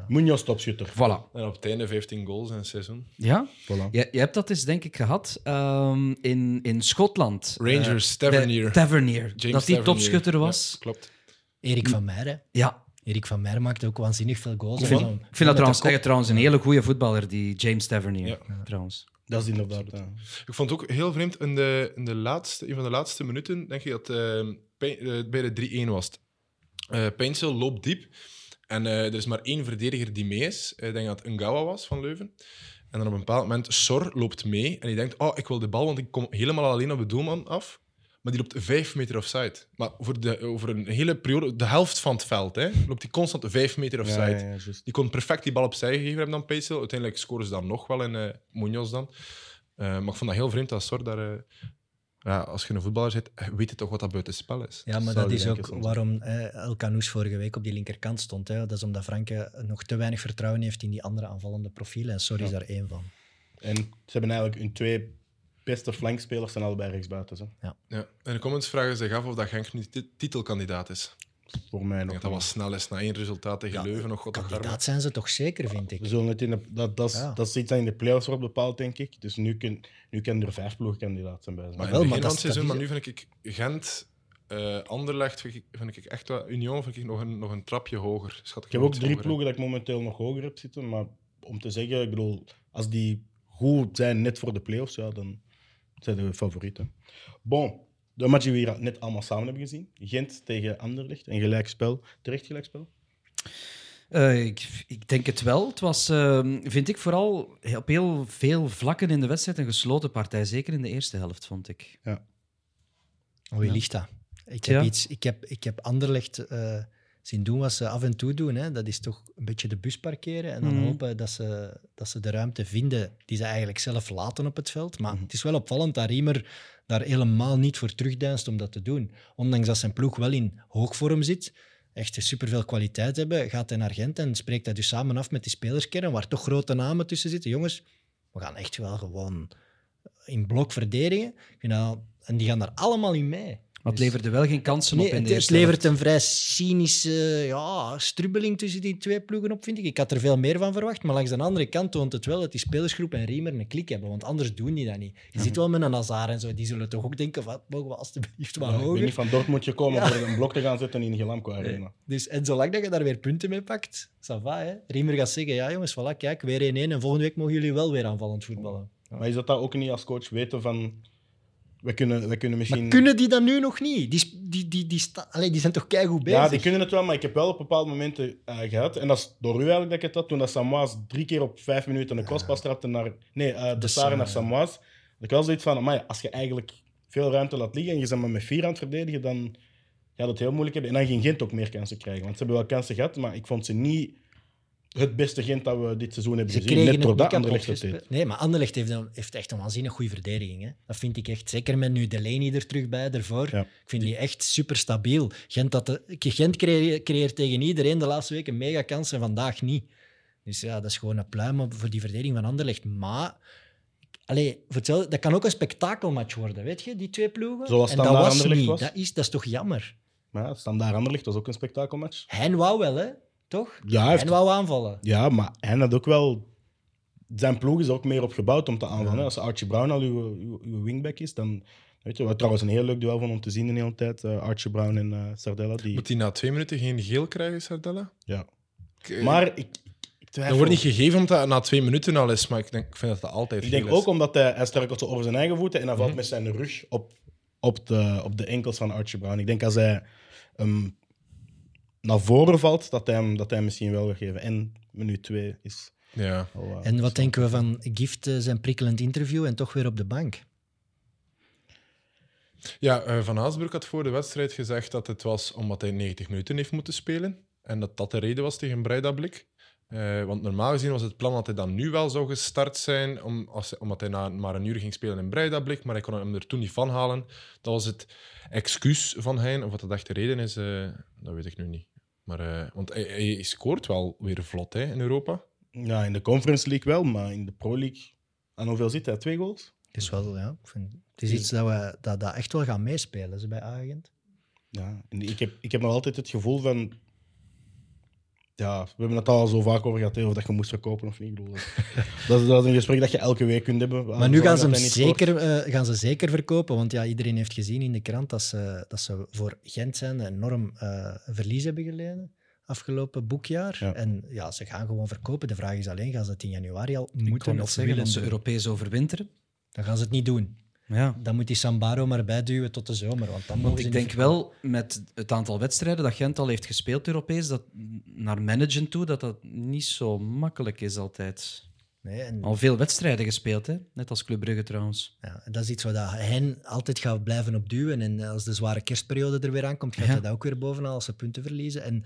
A: Munoz topschutter.
D: Voilà.
C: En op het einde 15 goals in een seizoen.
D: Ja?
A: Voilà.
D: Je, je hebt dat eens, denk ik, gehad ehm, in, in Schotland.
C: Rangers,
D: Eh, bij
C: Tavernier.
D: Tavernier.
C: James
D: dat die
C: Tavernier.
D: topschutter
C: Ja,
D: was.
C: klopt.
B: Erik van Meer, hè.
D: Ja.
B: Erik van Meer maakte ook waanzinnig veel goals.
D: Ik
B: En
D: vind,
B: dan-
D: ik
B: met
D: vind
B: de
D: dat trouwens,
B: kop-
D: echt trouwens een hele goede voetballer, die James Tavernier. eh, Trouwens.
A: Dat is inderdaad. eh, ja.
C: Ik vond het ook heel vreemd, in, de, in de laatste, een van de laatste minuten, denk ik dat eh, Pijn- eh, bij de 3-1 was. het. Eh Pijnsel loopt diep en eh, er is maar één verdediger die mee is. Eh, Ik denk dat het Ngawa was van Leuven. En dan op een bepaald moment, Sor loopt mee en die denkt, oh, ik wil de bal, want ik kom helemaal alleen op de doelman af. Maar die loopt vijf meter offside. Maar voor, de, over een hele periode, de helft van het veld, hè, loopt die constant vijf meter offside.
A: Ja, ja, ja, juist.
C: Die kon perfect die bal opzij gegeven hebben dan Paisel. Uiteindelijk scoren ze dan nog wel in eh Munoz dan. Eh, maar ik vond dat heel vreemd dat Sor daar... eh, ja, als je een voetballer zit, eh, weet je toch wat dat buitenspel is.
B: Ja, maar
A: Zou
B: dat
A: je
B: is
A: denken
B: ook
A: soms.
B: waarom eh, El Canoes vorige week op die linkerkant stond. Hè. Dat is omdat Franke nog te weinig vertrouwen heeft in die andere aanvallende profielen. En sorry is daar één van.
A: En ze hebben eigenlijk hun twee beste flankspelers zijn allebei rechtsbuiten. Hè.
C: Ja. In de comments vragen zich af of dat Genk nu tit- titelkandidaat is. Ik
A: Voor mij nog.
C: denk dat dat wel snel is na één resultaat tegen Leuven. Nog wat
B: Kandidaat zijn ze toch zeker, vind ik.
A: We zullen het in de, dat, dat, is,
B: Ja.
A: dat is iets dat in de playoffs wordt bepaald, denk ik. Dus nu, kun, nu kan er vijf ploegkandidaat zijn bij zijn.
C: Maar in
B: Wel,
C: het
B: maar
C: begin
B: dat
C: van het
B: is- dat
C: seizoen, maar
B: is-
C: nu vind ik Gent, eh Anderlecht, vind ik, vind ik echt wel... Union vind ik nog een, nog een trapje hoger. Schat
A: ik heb ook drie ploegen dat ik momenteel nog hoger heb zitten. Maar om te zeggen, ik bedoel, als die goed zijn net voor de playoffs, ja, dan zijn de favorieten. Bon, de match die we hier net allemaal samen hebben gezien. Gent tegen Anderlecht, een gelijkspel. Terecht gelijkspel.
D: Eh, ik, ik denk het wel. Het was, ehm, vind ik, vooral he- op heel veel vlakken in de wedstrijd een gesloten partij. Zeker in de eerste helft, vond ik.
B: Hoe
D: Ja.
B: ligt dat? Ik
D: Tja.
B: heb, iets, ik heb, ik heb Anderlecht eh, zien doen wat ze af en toe doen. Hè. Dat is toch een beetje de bus parkeren en dan
D: Mhm.
B: hopen dat ze, dat ze de ruimte vinden die ze eigenlijk zelf laten op het veld. Maar het is wel opvallend dat Riemer daar helemaal niet voor terugdeinst om dat te doen. Ondanks dat zijn ploeg wel in hoogvorm zit, echt superveel kwaliteit hebben, gaat hij naar Gent en spreekt dat dus samen af met die spelerskern, waar toch grote namen tussen zitten. Jongens, we gaan echt wel gewoon in blok verdedigen. Ik vind dat- en die gaan daar allemaal in mee.
D: Maar het leverde wel geen kansen
B: Nee,
D: op in
B: het,
D: de
B: het
D: eerste
B: levert
D: helft.
B: een vrij cynische ja, strubbeling tussen die twee ploegen op, vind ik. Ik had er veel meer van verwacht, maar langs de andere kant toont het wel dat die spelersgroep en Riemer een klik hebben, want anders doen die dat niet. Je
A: Mhm.
B: zit wel met een Hazard en zo, die zullen toch ook denken, wat mogen we alstublieft wat
A: Ja, ik ben
B: hoger.
A: niet van Dortmund gekomen om voor een blok te gaan zetten in Gelamco Arena.
B: Dus, en zolang dat je daar weer punten mee pakt, ça va, hè. Riemer gaat zeggen, ja jongens, voilà, kijk, weer 1-1 en volgende week mogen jullie wel weer aanvallend voetballen.
A: Maar is dat dat ook niet als coach weten van... We kunnen, we kunnen misschien...
B: Maar kunnen die dat nu nog niet? Die, sp- die, die, die, sta- Allee, die zijn toch keigoed bezig?
A: ja, die kunnen het wel, maar ik heb wel op bepaalde momenten eh, gehad. En dat is door u eigenlijk dat ik het had. Toen dat Samoas drie keer op vijf minuten een crosspas trapte naar... Nee, eh, de
B: De
A: Sare
B: Sar,
A: naar
B: ja.
A: Samoas. Dat ik wel zoiets van, amai, als je eigenlijk veel ruimte laat liggen en je bent maar met vier aan het verdedigen, dan gaat het heel moeilijk hebben. En dan ging Gent ook meer kansen krijgen. Want ze hebben wel kansen gehad, maar ik vond ze niet het beste Gent dat we dit seizoen hebben
B: Ze
A: gezien.
B: kregen
A: Net
B: het niet
A: doordat
B: kapot
A: Anderlecht het deed.
B: gespeeld. Nee, maar Anderlecht heeft, een- heeft echt een waanzinnig goede verdediging. Hè. Dat vind ik echt. Zeker met nu Delaney er terug bij, ervoor.
A: Ja.
B: Ik vind die echt super stabiel. Gent, dat de, Gent creë- creëert tegen iedereen de laatste weken mega kansen en vandaag niet. Dus ja, dat is gewoon een pluim op- voor die verdediging van Anderlecht. Maar, allee, voor hetzelfde- dat kan ook een spektakelmatch worden, weet je, die twee ploegen.
A: Zoals
B: en dat
A: Standaard
B: was
A: Anderlecht
B: niet.
A: was.
B: Dat, is, dat is toch jammer?
A: Maar ja, standaard Anderlecht was ook een spektakelmatch.
B: Hij wou wel, hè? Toch?
A: Ja,
B: Hij
A: heeft-
B: wou aanvallen.
A: ja, maar hij had ook wel... Zijn ploeg is er ook meer op gebouwd om te aanvallen. hè. Als Archie Brown al uw, uw, uw wingback is, dan... Weet je, wat trouwens een heel leuk duel van om te zien de hele tijd. eh, Archie Brown en eh, Sardella. Die,
C: Moet hij na twee minuten geen geel krijgen, Sardella?
A: ja.
C: Ik-
A: Maar ik, ik, ik twijfel.
C: Dat Eh, wordt niet gegeven omdat dat na twee minuten al is, maar ik, denk, ik vind dat dat altijd
A: Ik
C: geel
A: denk
C: is.
A: ook omdat hij, hij struikelt zo over zijn eigen voeten en hij
C: Mhm.
A: valt met zijn rug op, op, de, op de enkels van Archie Brown. Ik denk als hij ehm, naar voren valt, dat hij hem, dat hij hem misschien wel wil geven. En minuut 2 is
C: Ja.
A: al... eh,
B: En wat denken we van Gift, eh, zijn prikkelend interview en toch weer op de bank?
C: Ja, eh, Van Haasbroek had voor de wedstrijd gezegd dat het was omdat hij 90 minuten heeft moeten spelen. En dat dat de reden was tegen Breida Blik. Eh, want normaal gezien was het plan dat hij dan nu wel zou gestart zijn, om, als, hij- omdat hij na maar een uur ging spelen in Breida Blik, maar hij kon hem er toen niet van halen. Dat was het excuus van hij. Of wat dat echt de reden is, eh, dat weet ik nu niet. Maar, eh, want hij, hij scoort wel weer vlot hè, in Europa.
A: ja, in de Conference League wel, maar in de Pro League... Aan hoeveel zit hij? Twee goals?
B: Het is wel, ja, ik vind, het is iets dat, we, dat, dat echt wel gaan meespelen ze bij Agent.
A: Ja. En ik, heb, ik heb nog altijd het gevoel van... Ja, we hebben het al zo vaak over gehad, hè, of dat je moest verkopen of niet. Ik bedoel, dat, is, dat is een gesprek dat je elke week kunt hebben.
B: Maar nu gaan ze, hem
A: Zolang dat hij niet scoort.
B: zeker, eh, gaan ze zeker verkopen, want ja, iedereen heeft gezien in de krant dat ze, dat ze voor Gent zijn een enorm eh, verlies hebben geleden afgelopen boekjaar.
A: Ja.
B: En ja, ze gaan gewoon verkopen. De vraag is alleen, gaan ze het in januari al
D: Ik
B: moeten
D: kon
B: of
D: nog zeggen
B: willen
D: dat ze
B: doen?
D: Europees overwinteren.
B: Dan gaan ze het niet doen.
D: Ja.
B: Dan moet die Sambaro maar bijduwen tot de zomer, want dan mogen
D: Want
B: ze
D: ik
B: niet
D: denk wel, met het aantal wedstrijden dat Gent al heeft gespeeld Europees, dat naar managen toe, dat dat niet zo makkelijk is altijd.
B: verkopen. Nee, en-
D: Al veel wedstrijden gespeeld, hè? net als Club Brugge trouwens.
B: Ja, dat is iets waar dat hen altijd gaat blijven op duwen. En als de zware kerstperiode er weer aankomt, gaat
D: Ja.
B: dat ook weer bovenaan als ze punten verliezen. En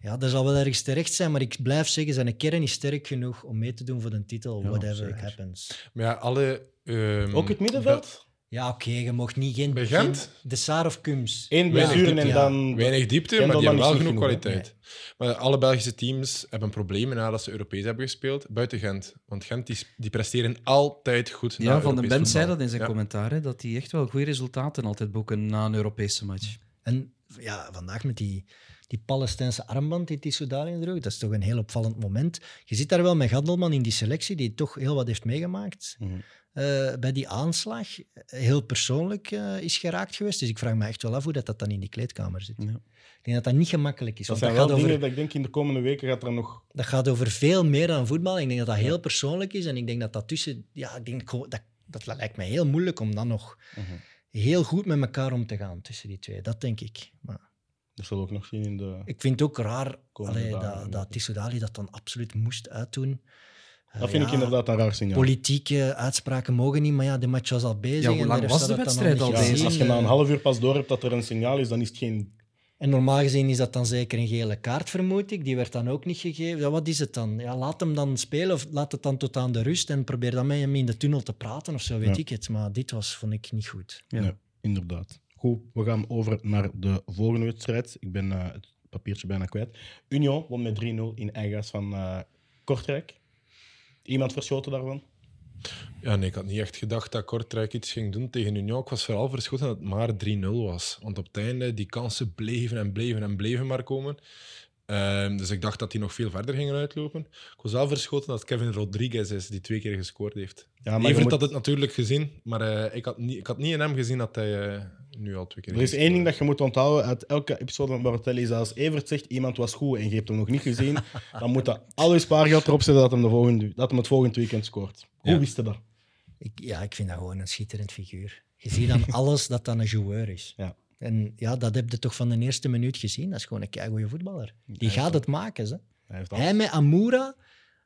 B: ja, dat zal wel ergens terecht zijn, maar ik blijf zeggen, zijn kern is sterk genoeg om mee te doen voor de titel,
D: Ja,
B: whatever
D: zeker.
B: happens.
C: Maar ja, alle... ehm,
A: Ook het middenveld?
B: Ja, oké, je mocht niet geen...
C: Bij Gent?
B: geen- de Saar of Kums.
A: Eén
B: Ja,
A: blessure
B: dit
A: en
B: jaar.
A: dan...
C: Weinig diepte,
A: Ja,
C: maar
A: dan
C: die hebben
A: is
C: wel
A: het
C: genoeg
A: niet genoeg,
C: kwaliteit. Maar alle Belgische teams hebben problemen nadat ze Europees hebben gespeeld, buiten Gent. Want Gent die, die presteren altijd goed. na
D: Ja, Van den
C: Europees
D: Bent zei
C: voetbal.
D: dat in zijn
C: Ja.
D: commentaar, hè, dat hij echt wel goede resultaten altijd boeken na een Europese match.
B: En ja, vandaag met die, die Palestijnse armband die Tissou daarin droeg, dat is toch een heel opvallend moment. Je zit daar wel met Gandelman in die selectie, die toch heel wat heeft meegemaakt.
A: Mhm.
B: Eh, bij die aanslag eh, heel persoonlijk eh, is geraakt geweest. Dus ik vraag me echt wel af hoe dat, dat dan in die kleedkamer zit.
D: Ja.
B: Ik denk dat dat niet gemakkelijk is.
A: Dat
B: want
A: zijn
B: dat,
A: wel
B: gaat over,
A: dingen dat ik denk in de komende weken gaat er nog...
B: dat gaat over veel meer dan voetbal. Ik denk dat dat heel persoonlijk is. En ik denk dat dat tussen... Ja, ik denk, gewoon- dat, dat lijkt mij heel moeilijk om dan nog
A: Mhm.
B: heel goed met elkaar om te gaan tussen die twee. Dat denk ik. Maar...
A: Dat zullen we ook nog zien in de...
B: Ik vind het ook raar
A: Komende
B: allee,
A: dagen,
B: dat, dat
A: inderdaad.
B: Tissou Dali dat dan absoluut moest uitdoen. Eh,
A: Dat vind ik
B: ja,
A: inderdaad een raar signaal.
B: Politieke uitspraken mogen niet, maar ja, de match was al bezig.
D: Ja, hoe
B: en
D: lang
B: de ref
D: was
B: had
D: de
B: dat dan
D: wedstrijd
B: nog
D: al
A: Ja,
B: niet
D: bezig?
B: gezien.
A: als je na een
B: Eh,
A: half uur pas door hebt dat er een signaal is, dan is het geen...
B: En normaal gezien is dat dan zeker een gele kaart, vermoed ik. Die werd dan ook niet gegeven. Ja, wat is het dan? Ja, laat hem dan spelen of laat het dan tot aan de rust en probeer dan met hem in de tunnel te praten of zo, weet
A: Ja.
B: ik het. Maar dit was, vond ik, niet goed.
D: Ja.
A: Nee, inderdaad. Goed, we gaan over naar de volgende wedstrijd. Ik ben eh, het papiertje bijna kwijt. Union won met 3-0 in eigen huis van eh, Kortrijk. Iemand verschoten daarvan?
C: Ja, nee, ik had niet echt gedacht dat Kortrijk iets ging doen tegen Union. Ik was vooral verschoten dat het maar 3-0 was. Want op het einde, die kansen bleven en bleven en bleven maar komen. Ehm, dus ik dacht dat die nog veel verder gingen uitlopen. Ik was wel verschoten dat Kevin Rodriguez is, die twee keer gescoord heeft.
A: Ja,
C: Ja,
A: je moet-
C: had het natuurlijk gezien, maar eh, ik, had niet, ik had niet in hem gezien dat hij eh, nu al twee keer
A: Er is
C: heeft
A: één ding dat
C: gescoord.
A: je moet onthouden uit elke episode van Barotelli. Is dat als Evert zegt iemand was goed en je hebt hem nog niet gezien, dan moet dat al je spaargeld erop zetten dat hem, de volgende, dat hem het volgende weekend scoort. Hoe
C: Ja.
A: wist je dat?
B: Ik, ja, ik vind dat gewoon een schitterend figuur. Je ziet aan alles dat dat een joueur is.
A: Ja.
B: En ja, dat heb je toch van de eerste minuut gezien. Dat is gewoon een keigoeie voetballer. Die
A: Ja,
B: gaat
A: toch.
B: het maken. Ze.
A: Hij heeft al-
B: Hij met Amoura,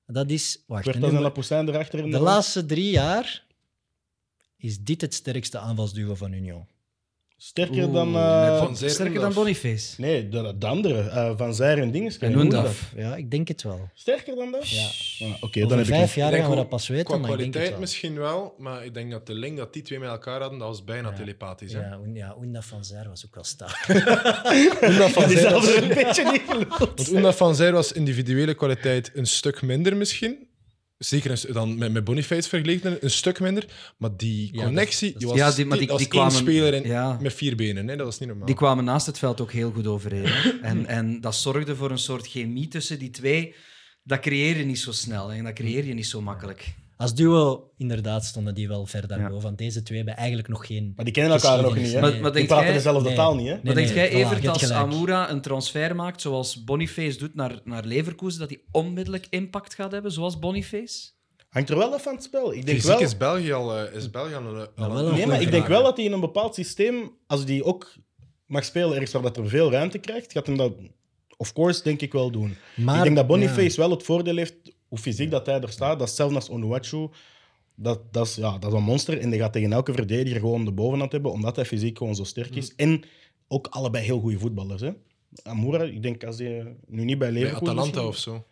B: dat is... Wacht,
A: werd
B: een
A: dat een
B: nummer-
A: Lapoussin erachter in
B: de laatste drie jaar is dit het sterkste aanvalsduo van Union.
A: Sterker dan...
D: Oeh,
A: eh,
C: Van Zijl-
D: Sterker dan
C: Zeerendorf.
D: Boniface.
A: nee, de, de andere. eh, van Zijr en Dinges.
D: En Hoendaf.
B: Ja, ik denk het wel.
A: Sterker dan dat?
B: Ja.
A: Ah, Oké, dan
B: Over
A: heb ik...
B: vijf
A: een-
B: jaar
C: Ik denk
B: gaan we
C: ook
B: dat pas weten,
C: Qua
B: maar ik denk het
C: kwaliteit
B: wel.
C: misschien wel, maar ik denk dat de link dat die twee met elkaar hadden, dat was bijna telepathisch. Hè?
B: Ja, Oen- ja, Oenda van Zijr was ook wel sterk.
C: Oenda van
A: Die
C: Zijl
A: zelfs
C: was-
A: een beetje niet gelul.
C: Want Oenda van Zijl was individuele kwaliteit een stuk minder misschien. Zeker een stu- dan met, met Boniface vergeleken, een stuk minder. Maar die
B: Ja,
C: connectie,
B: dat-
C: die
B: dat
C: was,
D: is- Ja, die- maar die-
C: dat was
D: die
C: één
D: kwamen-
C: speler in-
D: ja.
C: met vier benen. Hè? Dat was niet normaal.
D: Die kwamen naast het veld ook heel goed overeen. hè. en, en dat zorgde voor een soort chemie tussen die twee. Dat creëer je niet zo snel en dat creëer je niet zo makkelijk.
B: Als duo, inderdaad, stonden die wel ver daarboven.
D: Ja.
B: Want deze twee hebben eigenlijk nog geen...
A: Maar die kennen elkaar nog niet, hè?
B: Maar-
A: Die
D: maar denk
A: praten
D: jij-
A: dezelfde
B: Nee.
A: taal niet, hè?
B: Nee,
D: maar
B: nee,
D: denk
B: voilà,
D: jij,
B: je
D: Evert,
B: hebt
D: als
B: gelijk.
D: Amoura een transfer maakt, zoals Boniface doet naar, naar Leverkusen, dat hij onmiddellijk impact gaat hebben, zoals Boniface?
A: Hangt er wel af van het spel. Ik denk
C: Fysiek
A: wel...
C: is België al, eh, is België al, een- al
B: wel
C: een-
B: een
A: Nee, maar ik denk
B: vraag,
A: wel dat hij in een bepaald systeem, als hij ook mag spelen ergens waar dat er veel ruimte krijgt, gaat hem dat, of course, denk ik wel doen.
B: Maar,
A: ik denk dat Boniface
B: ja.
A: wel het voordeel heeft, hoe fysiek dat hij er staat, dat is hetzelfde als Onuachu. Dat, dat, is, ja, dat is een monster en die gaat tegen elke verdediger gewoon de bovenhand hebben, omdat hij fysiek gewoon zo sterk
B: Mm.
A: is. En ook allebei heel goede voetballers. Hè? Amoura, ik denk als hij nu niet bij
C: bij
A: Leverkusen...
C: Atalanta
A: misschien-
C: of zo.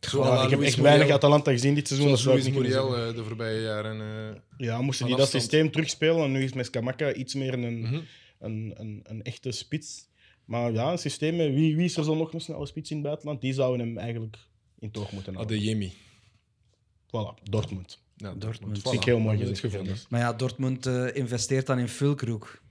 A: Ja,
C: Zo à la
A: ik heb
C: Luis
A: echt weinig
C: Muriel.
A: Atalanta gezien dit seizoen.
C: Zoals
A: dat zou ik
C: Luis
A: niet kunnen
C: Muriel
A: zeggen.
C: eh, de voorbije jaren. eh,
A: Ja, moesten
C: van
A: die dat
C: afstand.
A: systeem terugspelen en nu is Mescamaca iets meer een...
C: mhm.
A: een, een, een echte spits. Maar ja, een systeem met wie, wie is er zo nog een snelle spits in het buitenland? Die zouden hem eigenlijk in toog moeten houden.
C: Adeyemi.
A: Voilà, Dortmund.
C: Ja,
D: Dortmund.
A: Vind ik heel mooi
C: Dat is het
A: gezegd,
C: gevonden.
D: Maar ja, Dortmund eh, investeert dan in Fulkroek.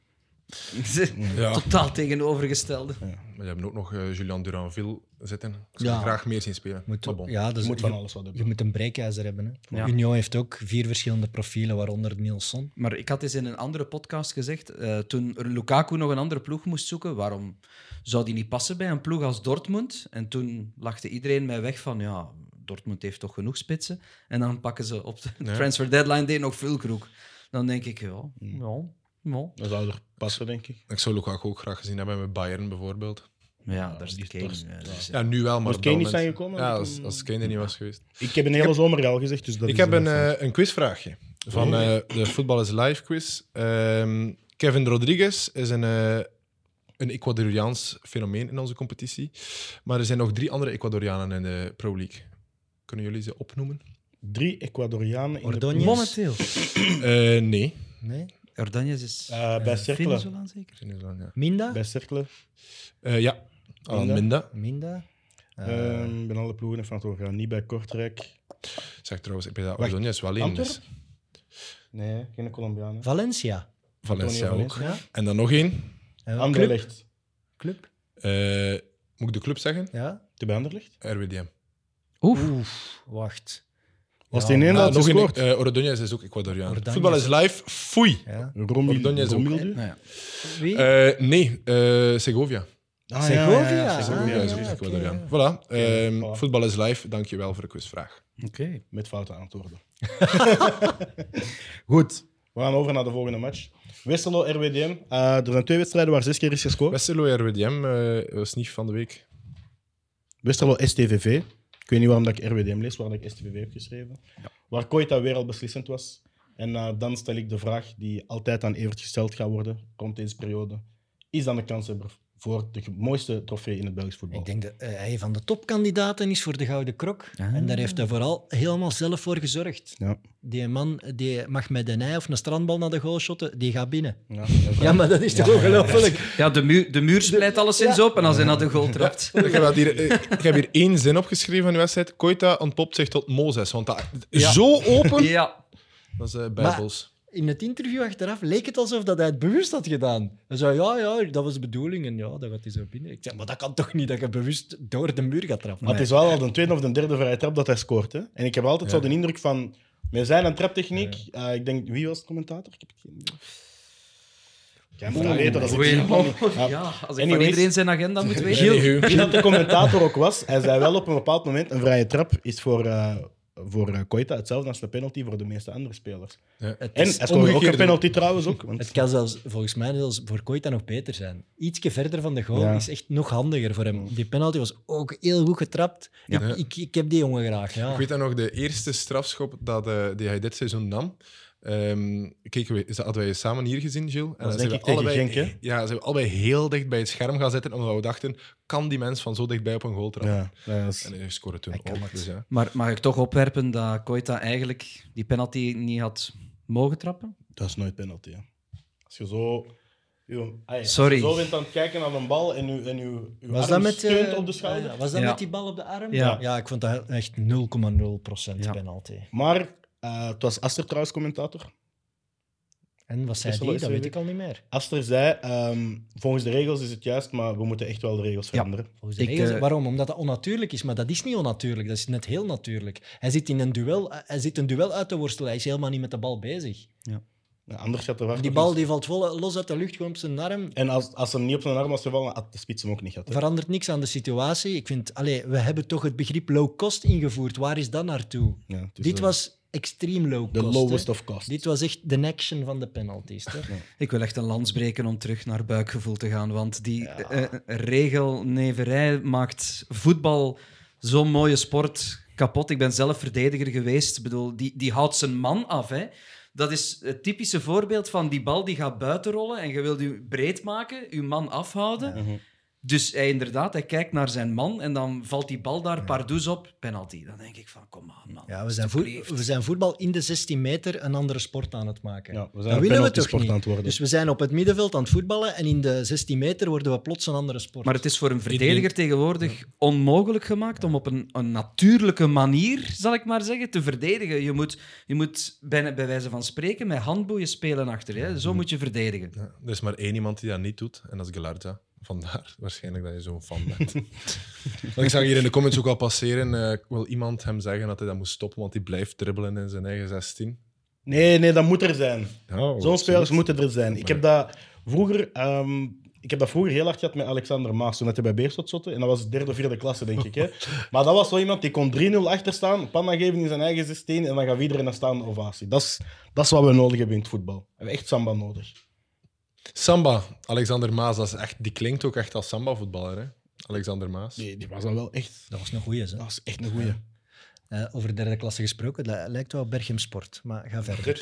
C: Ja,
D: Totaal tegenovergestelde.
C: maar je hebt ook nog eh, Julian Duranville zitten. Ik zou
B: Ja.
C: hem graag meer zien spelen.
B: Moet,
C: Maar bon.
B: ja, dus
A: Je moet
B: je,
A: van alles wat
B: je
A: hebben.
B: moet een breekijzer hebben. Hè.
D: Ja.
B: Union heeft ook vier verschillende profielen, waaronder Nielsen.
D: Maar ik had eens in een andere podcast gezegd, eh, toen Lukaku nog een andere ploeg moest zoeken, waarom zou die niet passen bij een ploeg als Dortmund? En toen lachte iedereen mij weg van, ja, Dortmund heeft toch genoeg spitsen? En dan pakken ze op de
C: Ja.
D: transfer deadline day nog Fulkroek. Dan denk ik, ja, ja, ja.
A: Dat zou er passen, denk ik.
C: Ik zou Lukaku ook graag gezien hebben met Bayern bijvoorbeeld.
D: Maar ja, daar is
A: die
D: de
A: is
D: Kane.
A: dorst.
D: eh, dat is-
C: Ja, nu wel, maar...
A: Moet
C: op
A: Kane niet
C: dat moment-
A: zijn gekomen?
C: Ja,
A: Toen-
C: als, als Kane er niet was geweest.
A: Ik heb een hele zomer al gezegd, dus dat
C: Ik
A: is
C: heb een,
A: inderdaad
C: eh, een quizvraagje van eh, de Voetbal is Live quiz. Ehm, Kevin Rodriguez is een, eh, een Ecuadoriaans fenomeen in onze competitie. Maar er zijn nog drie andere Ecuadorianen in de Pro League. Kunnen jullie ze opnoemen?
A: Drie Ecuadorianen in de
B: Ordóñez.
A: ploeg.
D: Momenteel.
C: Eh, nee.
B: Nee?
D: Ordóñez is...
A: Eh, bij
D: eh,
A: Cercle.
D: Venezolaan zeker?
C: Venezuela, ja.
B: Minda?
A: Bij Cercle.
C: Eh, ja, Alan
A: Minda.
C: Minda.
B: Minda? Eh,
A: Ehm ben alle ploegen van het oog gaan. Niet bij Kortrijk.
C: Zeg trouwens, ik ben dat
A: Wacht,
C: Ordonez wel één is.
A: Antwerp? Nee, geen Colombianen.
B: Valencia?
C: Valencia
A: Antonio
C: ook.
B: Ja?
C: En dan nog één.
B: En wat? club?
A: Eh, Anderlecht.
B: club?
C: Eh, moet ik de club zeggen?
B: Ja?
A: De bij Anderlecht?
C: RWDM.
D: Oef.
B: Wacht.
A: Was
B: Ja,
A: het in één
C: Ah,
A: dat
C: nog één.
A: gescoord?
C: Eh Ordonez is ook Ecuadoriaan.
B: Ordóñez.
C: Voetbal is live. Foei.
B: Ja?
A: Romiel-
C: Ordóñez ook.
A: Romielde?
D: Nou ja.
B: Wie?
C: Eh, nee, eh, Segovia.
A: Ah, ja, ja, ja, Segovia.
B: Segovia. Ah,
C: Segovia
B: ja,
C: is ook
B: ja, oké,
C: Ecuadoriaan.
B: ja.
C: Voilà. ehm,
A: voilà.
C: Voetbal is live. Dankjewel voor de quizvraag.
D: Oké.
A: Met foute antwoorden. Goed. We gaan over naar de volgende match. Westerlo, RWDM. Eh, er zijn twee wedstrijden waar zes keer is gescoord.
C: Westerlo RWDM eh, was niet van de week.
A: Westerlo, STVV. Ik weet niet waarom dat ik RWDM lees, waar dat ik STVV heb geschreven. Waar Koita weer al beslissend was. En eh, dan stel ik de vraag die altijd aan Evert gesteld gaat worden rond deze periode. Is dan de kans voor de mooiste trofee in het Belgisch voetbal?
B: Ik denk dat eh, hij van de topkandidaten is voor de Gouden Krok.
D: Ah.
B: En daar heeft hij vooral helemaal zelf voor gezorgd.
A: Ja.
B: Die man die mag met een ei of een strandbal naar de goal shotten, die gaat binnen.
A: Ja,
B: Ja, maar dat is toch ongelooflijk?
D: Ja, de muur, de muur splijt alleszins
B: Ja.
D: op en als hij naar de goal trapt.
C: Ik heb, dat hier, eh, ik heb hier één zin opgeschreven van de wedstrijd. Koita ontpopt zich tot Mozes. Want dat,
D: Ja.
C: zo open.
D: Ja.
C: Dat is eh, Bijbels.
B: In het interview achteraf leek het alsof dat hij het bewust had gedaan. Hij zei, ja, ja, dat was de bedoeling en ja, dat gaat hij zo binnen. Ik zei, maar dat kan toch niet dat je bewust door de muur gaat trappen?
A: Maar het is wel al de tweede of de derde vrije trap dat hij scoort. Hè? En ik heb altijd zo de indruk van. Met zijn en traptechniek. eh, ik denk, wie was de commentator? Ik heb het geen idee. Ik kan het weten, dat is
D: Oei.
A: ik plan niet. Ja.
D: Ja, als ik van
A: Anyways.
D: iedereen zijn agenda moet weten.
C: Giel. Anywho.
A: Wie dat de commentator ook was, hij zei wel op een bepaald moment: een vrije trap is voor, eh voor eh, Koita hetzelfde als de penalty voor de meeste andere spelers.
B: Het,
A: En
B: is-
A: hij scoorde ook
C: omgekeerd.
A: een penalty trouwens. Ook, want
B: het kan zelfs, volgens mij zelfs voor Koita nog beter zijn. Ietsje verder van de goal
A: Ja.
B: is echt nog handiger voor hem. Die penalty was ook heel goed getrapt.
A: Ah.
B: Ik, ik, ik heb die jongen graag, ja.
C: Ik weet dan nog de eerste strafschop dat, eh, die hij dit seizoen nam. Ehm, keken we, is dat, hadden wij samen hier gezien, Gilles? En
A: was
C: dan
A: denk
C: zijn
A: ik
C: we
A: tegen
C: allebei,
A: Genk, hè?
C: Ja, zijn we allebei heel dicht bij het scherm gaan zitten, omdat we dachten, kan die mens van zo dichtbij op een goal trappen?
A: Ja, dat is-
C: En hij scoorde toen
B: Hij kan
C: ook.
B: het.
C: Dus, ja.
D: Maar mag ik toch opwerpen dat Koita eigenlijk die penalty niet had mogen trappen?
A: dat is nooit penalty. hè. Als je zo. je- ai, als
D: Sorry.
A: je zo bent aan het kijken naar een bal en je, en je, je
B: Was
A: arm
B: dat met,
A: steunt
B: eh,
A: op de schouder.
B: ah ja, was dat
D: Ja.
B: met die bal op de arm?
D: Ja.
B: ik vond dat echt 0,0%
D: Ja.
B: penalty.
A: Maar eh, het was Aster trouwens commentator.
B: En wat zei
A: Is er
B: die?
A: wel-
B: Dat
A: is er
B: weet ik al niet meer.
A: Aster zei, ehm, volgens de regels is het juist, maar we moeten echt wel de regels veranderen.
B: Volgens de
D: Ik,
B: regels-
D: eh,
B: Waarom? Omdat dat onnatuurlijk is. Maar dat is niet onnatuurlijk. Dat is net heel natuurlijk. Hij zit in een duel, hij zit een duel uit te worstelen. Hij is helemaal niet met de bal bezig.
A: Ja, anders gaat er wachten.
B: Die bal die valt vol eh, los uit de lucht, gewoon op zijn arm.
A: En als, als hem niet op zijn arm was gevallen, had de spits hem ook niet gehad. hè.
B: Verandert niks aan de situatie. Ik vind, allee, we hebben toch het begrip low cost ingevoerd. Waar is dat naartoe?
A: Ja, het is
B: Dit
A: de-
B: was extreem low cost.
A: de
B: hè.
A: lowest of cost.
B: Dit was echt de action van de penalties. Hè?
D: Ik wil echt een lans breken om terug naar buikgevoel te gaan, want die eh, eh, regelneverij maakt voetbal zo'n mooie sport kapot. Ik ben zelf verdediger geweest. Ik bedoel, die, die houdt zijn man af, hè. Dat is het typische voorbeeld van die bal die gaat buitenrollen en je wilt je breed maken, je man afhouden.
A: Mhm.
D: Dus hij inderdaad, hij kijkt naar zijn man en dan valt die bal daar pardoes op, penalty. Dan denk ik van, kom aan, man.
B: Ja, we zijn, voet-
D: Alsjeblieft.
B: we zijn voetbal in de 16 meter een andere sport aan het maken.
A: Ja, we
B: Dat
A: zijn een
B: willen we
A: penalty
B: toch
A: sport
B: niet?
A: aan het worden.
B: Dus we zijn op het middenveld aan het voetballen en in de 16 meter worden we plots een andere sport.
D: Maar het is voor een verdediger tegenwoordig onmogelijk gemaakt om op een, een natuurlijke manier, zal ik maar zeggen, te verdedigen. Je moet, je moet bijna, bij wijze van spreken met handboeien spelen achter. Hè? Zo moet je verdedigen.
C: Ja, Er is maar één iemand die dat niet doet, en dat is Gelarza. Vandaar waarschijnlijk dat je zo'n fan bent. Want ik zag hier in de comments ook al passeren. eh, Ik wil iemand hem zeggen dat hij dat moet stoppen, want hij blijft dribbelen in zijn eigen 16.
A: Nee, nee, dat moet er zijn.
C: Oh,
A: Zo'n spelers moeten er zijn. Ik heb dat vroeger, ehm, ik heb dat vroeger heel hard gehad met Alexander Maas, toen dat hij bij Beerschot zotte. En dat was derde of vierde klasse, denk ik. Hè. Maar dat was zo iemand die kon 3-0 achterstaan, panna geven in zijn eigen 16 en dan gaf iedereen een staande ovatie. Dat is, dat is wat we nodig hebben in het voetbal. We hebben echt samba nodig.
C: Samba, Alexander Maas, dat is echt, die klinkt ook echt als samba-voetballer. Hè? Alexander Maas.
A: Die, die was dan wel echt...
B: Dat was een goeie, hè?
A: Dat was echt een goeie.
B: Eh, over derde klasse gesproken, dat lijkt wel Berchem Sport, maar ga verder.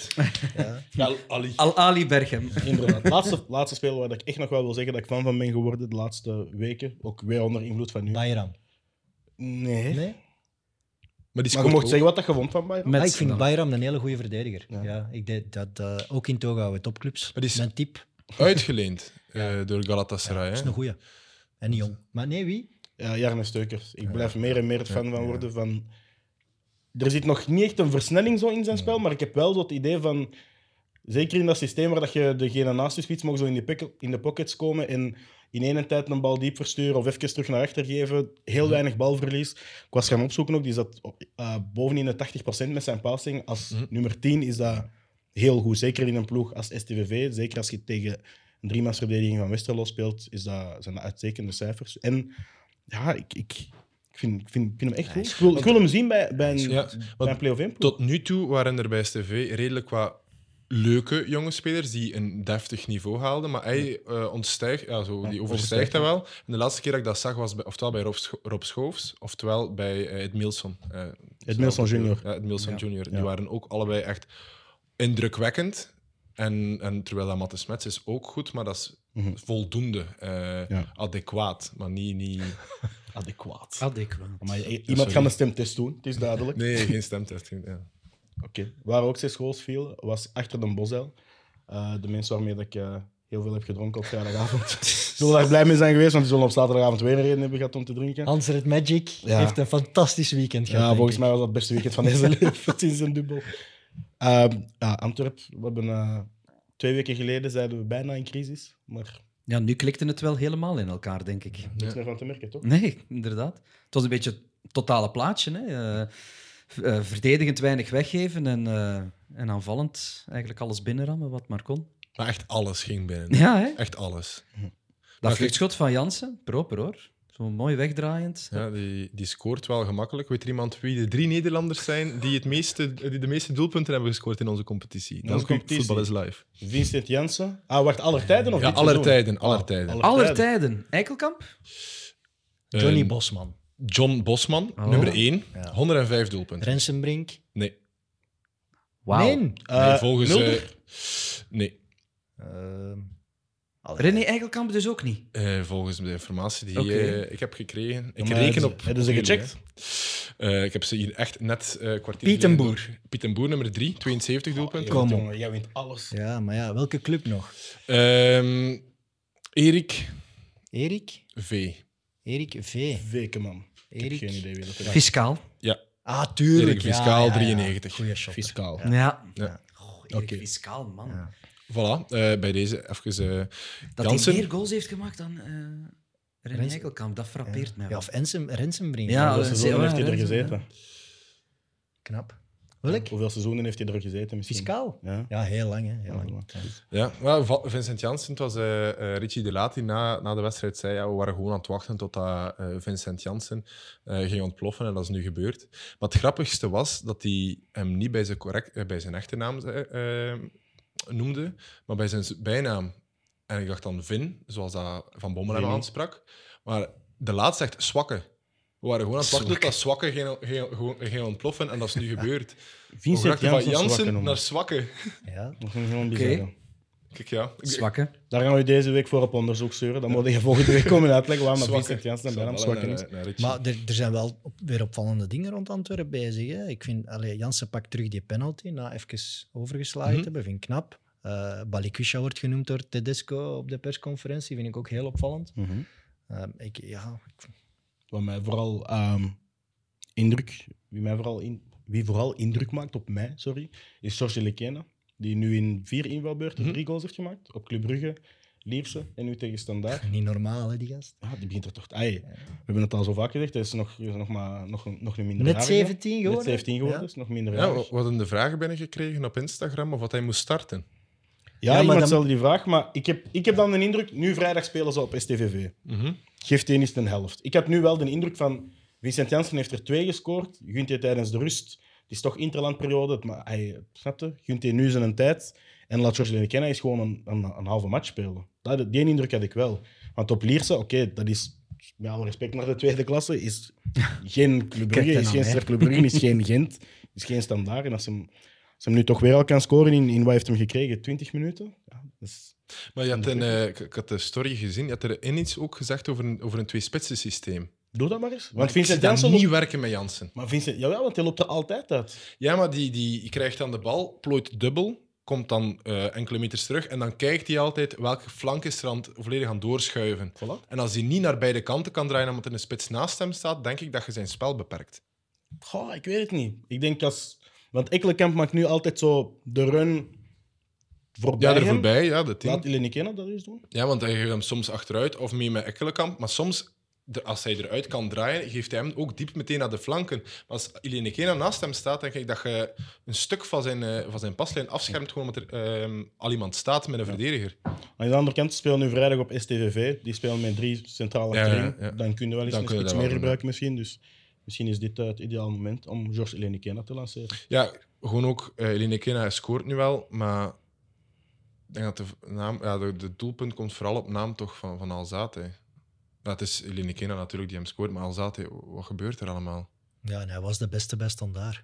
C: Ali.
D: Al-Ali Berchem.
A: Inderdaad. Laatste, laatste spel waar ik echt nog wel wil zeggen dat ik fan van ben geworden de laatste weken. Ook weer onder invloed van u.
B: Bayram.
A: Nee.
B: Nee?
C: Maar die
A: Maar je
C: scoort
A: mocht
C: ook.
A: zeggen wat dat je vond van Bayern.
D: Met
B: Ah, ik vind
D: dan.
B: Bayram een hele goede verdediger. Ja.
A: Ja.
B: ik deed dat eh, ook in Togo, oude topclubs.
C: Maar die is-
B: Mijn type
C: Uitgeleend eh, door Galatasaray.
B: is
C: hè?
B: een goeie. En jong. Maar nee, wie?
A: Ja, Jarne Steukers. Ik blijf meer en meer het fan van worden. Van... Er zit nog niet echt een versnelling zo in zijn spel, maar ik heb wel zo het idee van... Zeker in dat systeem waar dat je degene naast je fiets mag zo in, die pik- in de pockets komen en in één tijd een bal diep versturen of even terug naar achter geven. Heel weinig balverlies. Ik was gaan opzoeken ook, die zat op, eh, bovenin de 80% met zijn passing. Als nummer 10 is dat heel goed. Zeker in een ploeg als STVV. Zeker als je tegen een driemansverdediging van Westerlo speelt, is dat, zijn dat uitstekende cijfers. En ja, ik, ik, ik, vind, ik, vind, ik vind hem echt goed. Ik wil, ik wil hem zien bij, bij een,
C: Ja,
A: bij
C: want
A: een play-off in
C: Tot nu toe waren er bij STV redelijk wat leuke jonge spelers die een deftig niveau haalden, maar hij eh, ontstijgt, ja, zo, die overstijgt
A: overstijgt,
C: dat wel. En de laatste keer dat ik dat zag was bij, oftewel bij Rob, Scho- Rob Schoofs, oftewel bij eh, Ed Milson. Eh,
A: Ed Milson junior.
C: Ja, Ed Milson junior. Die
A: Ja.
C: waren ook allebei echt indrukwekkend. En, en terwijl dat Matte Smets is ook goed, maar dat is
A: Mhm.
C: voldoende eh,
A: Ja.
C: adequaat, maar niet... niet...
A: Adequaat.
D: Adequaat.
A: Maar iemand
C: sorry.
A: gaat een stemtest doen, het is duidelijk.
C: Nee, geen stemtest. geen- ja.
A: Oké. Waar ook zes goals viel, was achter de Bosuil. Eh, de mensen waarmee dat ik eh, heel veel heb gedronken op vrijdagavond. zullen daar blij mee zijn geweest, want die zullen op zaterdagavond weer een reden hebben gehad om te drinken.
B: Hanser het Magic
A: Ja.
B: heeft een fantastisch weekend gehad.
A: Ja,
B: denk
A: volgens
B: ik.
A: mij was dat het beste weekend van deze leven sinds een dubbel. Ehm, ja, Antwerp, we hebben eh, twee weken geleden zeiden we bijna in crisis, maar
D: Ja, nu klikte het wel helemaal in elkaar, denk ik.
A: niks meer van te merken, toch?
D: Nee, inderdaad. Het was een beetje het totale plaatje. Hè? Eh, v- eh, verdedigend weinig weggeven en, eh, en aanvallend eigenlijk alles binnenrammen wat maar kon.
C: Maar echt alles ging binnen.
D: Ja, hè?
C: Echt alles.
D: Dat
C: Maar
D: vluchtschot van Jansen, proper hoor. Zo mooi wegdraaiend.
C: Ja, die, die scoort wel gemakkelijk. Weet er iemand wie de drie Nederlanders zijn die, het meeste, die de meeste doelpunten hebben gescoord in onze competitie?
A: onze
C: Dat is
A: competitie?
C: voetbal is live.
A: Vincent Jansen. Ah, wacht, aller tijden of
C: Ja,
A: dit
C: aller
A: seizoen?
C: tijden, aller
A: Ah,
C: tijden.
D: Aller tijden. Eikelkamp?
B: Johnny
D: Ehm.
C: Eh,
B: Bosman,
C: John Bosman,
D: Oh.
C: nummer 1,
B: Ja.
C: 105 doelpunten.
B: Rensenbrink,
C: Nee,
D: Wauw.
B: Nee.
A: Eh,
C: nee, volgens... eh,
A: Mulder?
C: nee,
B: Ehm, allee.
D: René Eikelkamp dus ook niet.
C: eh, volgens de informatie die
D: Oké.
C: eh, ik heb gekregen. Ik
A: Maar
C: reken
A: het-
C: op...
A: hebben ze
C: op jullie,
A: gecheckt?
C: hè. Eh, ik heb ze hier echt net eh kwartier...
B: Piet en
C: geleden-
B: Boer.
C: Piet en Boer, nummer 3, 72 doelpunten.
B: Kom op.
A: Jongen, jij wint alles.
B: Ja, maar ja, welke club nog?
C: Ehm, Erik
B: Erik?
C: V.
B: Erik V.
A: Weken, man. Ik heb
B: Erik.
A: geen idee wie dat is.
D: Fiscaal.
B: Ah, tuurlijk.
C: Erik
B: ja,
C: Fiscaal,
B: ja, ja.
C: 93.
B: Goeie shot.
A: Fiscaal.
D: Ja.
C: Ja.
D: Goh, Erik
A: Oké.
D: Fiscaal, man.
B: Ja.
C: Voilà, eh, bij deze even... eh,
D: Dat
C: Jansen.
D: hij meer goals heeft gemaakt dan eh René
B: Rens-
D: Eikelkamp, dat frappeert mij.
B: Ja,
D: wel.
B: of Ensem, Rensenbrink.
D: Ja,
B: Ja.
A: Hoeveel
D: eh,
A: seizoenen heeft hij er
D: Renzo,
A: gezeten?
B: Knap. Welk?
A: Hoeveel seizoenen heeft hij er gezeten? Misschien?
B: Fiscaal?
A: Ja.
B: Ja, heel lang, hè. Heel lang.
A: voilà.
C: Ja, wel, Va- Vincent Janssen, het was eh, eh, Richie De Laat die na, na de wedstrijd zei, ja, we waren gewoon aan het wachten totdat eh Vincent Janssen eh, ging ontploffen en dat is nu gebeurd. Maar het grappigste was dat hij hem niet bij zijn, correct, eh, bij zijn echte naam zei- eh, noemde, maar bij zijn z- bijnaam. En ik dacht dan Vin, zoals dat Van Bommel hem
A: Vinnie.
C: aansprak. Maar De Laat zegt zwakke. We waren gewoon aan het wachten
D: Zwakke.
C: totdat zwakke ging, ging, gewoon- ging ontploffen en dat is nu gebeurd. We
A: Vincent
C: raakten van
A: Janssen, zwakke
C: Janssen
A: noemen.
C: naar zwakke.
B: Ja.
A: Dat ging gewoon
D: Oké.
A: bizar. hè.
C: Kijk ja, ik-
D: Zwakke.
A: Daar gaan we deze week voor op onderzoek sturen. Dan moet je volgende week komen uitleggen waarom dat
C: Zwakke.
A: Vincent Janssen en
C: Zal
A: Benham
C: wel
A: zwakker
C: naar,
A: is.
C: eh, naar Richie.
B: Maar er, er zijn wel op- weer opvallende dingen rond Antwerpen bezig. Hè. Ik vind, allee, Jansen pakt terug die penalty na even overgeslagen
C: Mhm.
B: te hebben. Vind ik knap. Eh Balikwisha wordt genoemd door Tedesco op de persconferentie. Vind ik ook heel opvallend.
A: Mhm.
B: Eh, ik, ja,
A: Wat mij vooral ehm, indruk, wie, mij vooral in, wie vooral indruk maakt op mij, sorry, is George Lekena. Die nu in vier invalbeurten
C: Mhm.
A: drie goals heeft gemaakt. Op Club Brugge, Lierse en nu tegen Standaard.
B: niet normaal, hè, die gast.
A: Ah, die begint er toch... Ai, we hebben het al zo vaak gezegd, hij is nog, hij is nog, maar, nog, een- nog een minder
B: Net 17 geworden.
A: Net 17 geworden,
B: Ja.
A: is nog minder
C: Ja, oh,
A: ja,
C: we we hadden de vragen binnengekregen op Instagram of wat hij moest starten.
A: Ja,
B: Ja, maar
A: iemand
B: dan-
A: stelde die vraag, maar ik heb, ik heb dan de indruk, nu vrijdag spelen ze op STVV. Geeft één eens een helft. Ik had nu wel de indruk van, Vincent Janssen heeft er twee gescoord, gunt hij tijdens de rust. Het is toch interlandperiode, het ma- hij snapte, gunt hij nu zijn tijd. En laat George Lekena eens gewoon een, een, een halve match spelen. Dat, die indruk had ik wel. Want op Lierse, oké, dat is, met alle respect naar de tweede klasse, is geen Club Brugge,
B: Kijk
A: is
B: dan
A: geen
B: aan, hè.
A: Club Brugge, is geen Gent, is geen standaard. En als ze hem, als hij hem nu toch weer al kan scoren, in, in wat heeft hem gekregen? 20 minuten? Ja, dat is...
C: Maar je had een, eh, ik, ik had de story gezien, je had er in iets ook gezegd over een, over een twee-spitsen systeem.
A: Doe dat maar eens. Want
C: Ik zie
A: Vincent
C: dat
A: Janssen...
C: niet werken met Jansen.
A: Maar Vincent, jawel, want hij loopt er altijd uit.
C: Ja, maar die, die, die krijgt dan de bal, plooit dubbel, komt dan eh, enkele meters terug en dan kijkt hij altijd welke flank is er aan het volledig aan doorschuiven.
A: Voilà.
C: En als hij niet naar beide kanten kan draaien omdat er een spits naast hem staat, denk ik dat je zijn spel beperkt.
A: Goh, ik weet het niet. Ik denk als... Want Ekkelenkamp maakt nu altijd zo de run voorbij
C: Ja, er
A: hem.
C: voorbij, ja, de tien.
A: Laat Ilenikena dat eens doen.
C: Ja, want hij geeft hem soms achteruit of mee met Ekkelenkamp. Maar soms, de- als hij eruit kan draaien, geeft hij hem ook diep meteen naar de flanken. Maar als Ilene Kena naast hem staat, denk ik dat je een stuk van zijn, eh, van zijn paslijn afschermt. Gewoon omdat er ehm, al iemand staat met een verdediger.
A: Aan de andere kant spelen nu vrijdag op STVV. Die spelen met drie centrale
C: Ja,
A: achterin.
C: ja, ja.
A: Dan kunnen we wel
C: Dan
A: eens
C: kunnen we
A: iets
C: dat
A: meer
C: wel
A: gebruiken misschien. Dus misschien is dit eh, het ideale moment om George Ilenikena te lanceren.
C: Ja, gewoon ook, eh Ilene Kena scoort nu wel, maar ik denk dat de, naam, ja, de, de doelpunt komt vooral op naam toch van, van Alzate. Dat is Ilene Kena natuurlijk die hem scoort, maar Alzate, wat gebeurt er allemaal?
B: Ja, en hij was de beste bij standaard.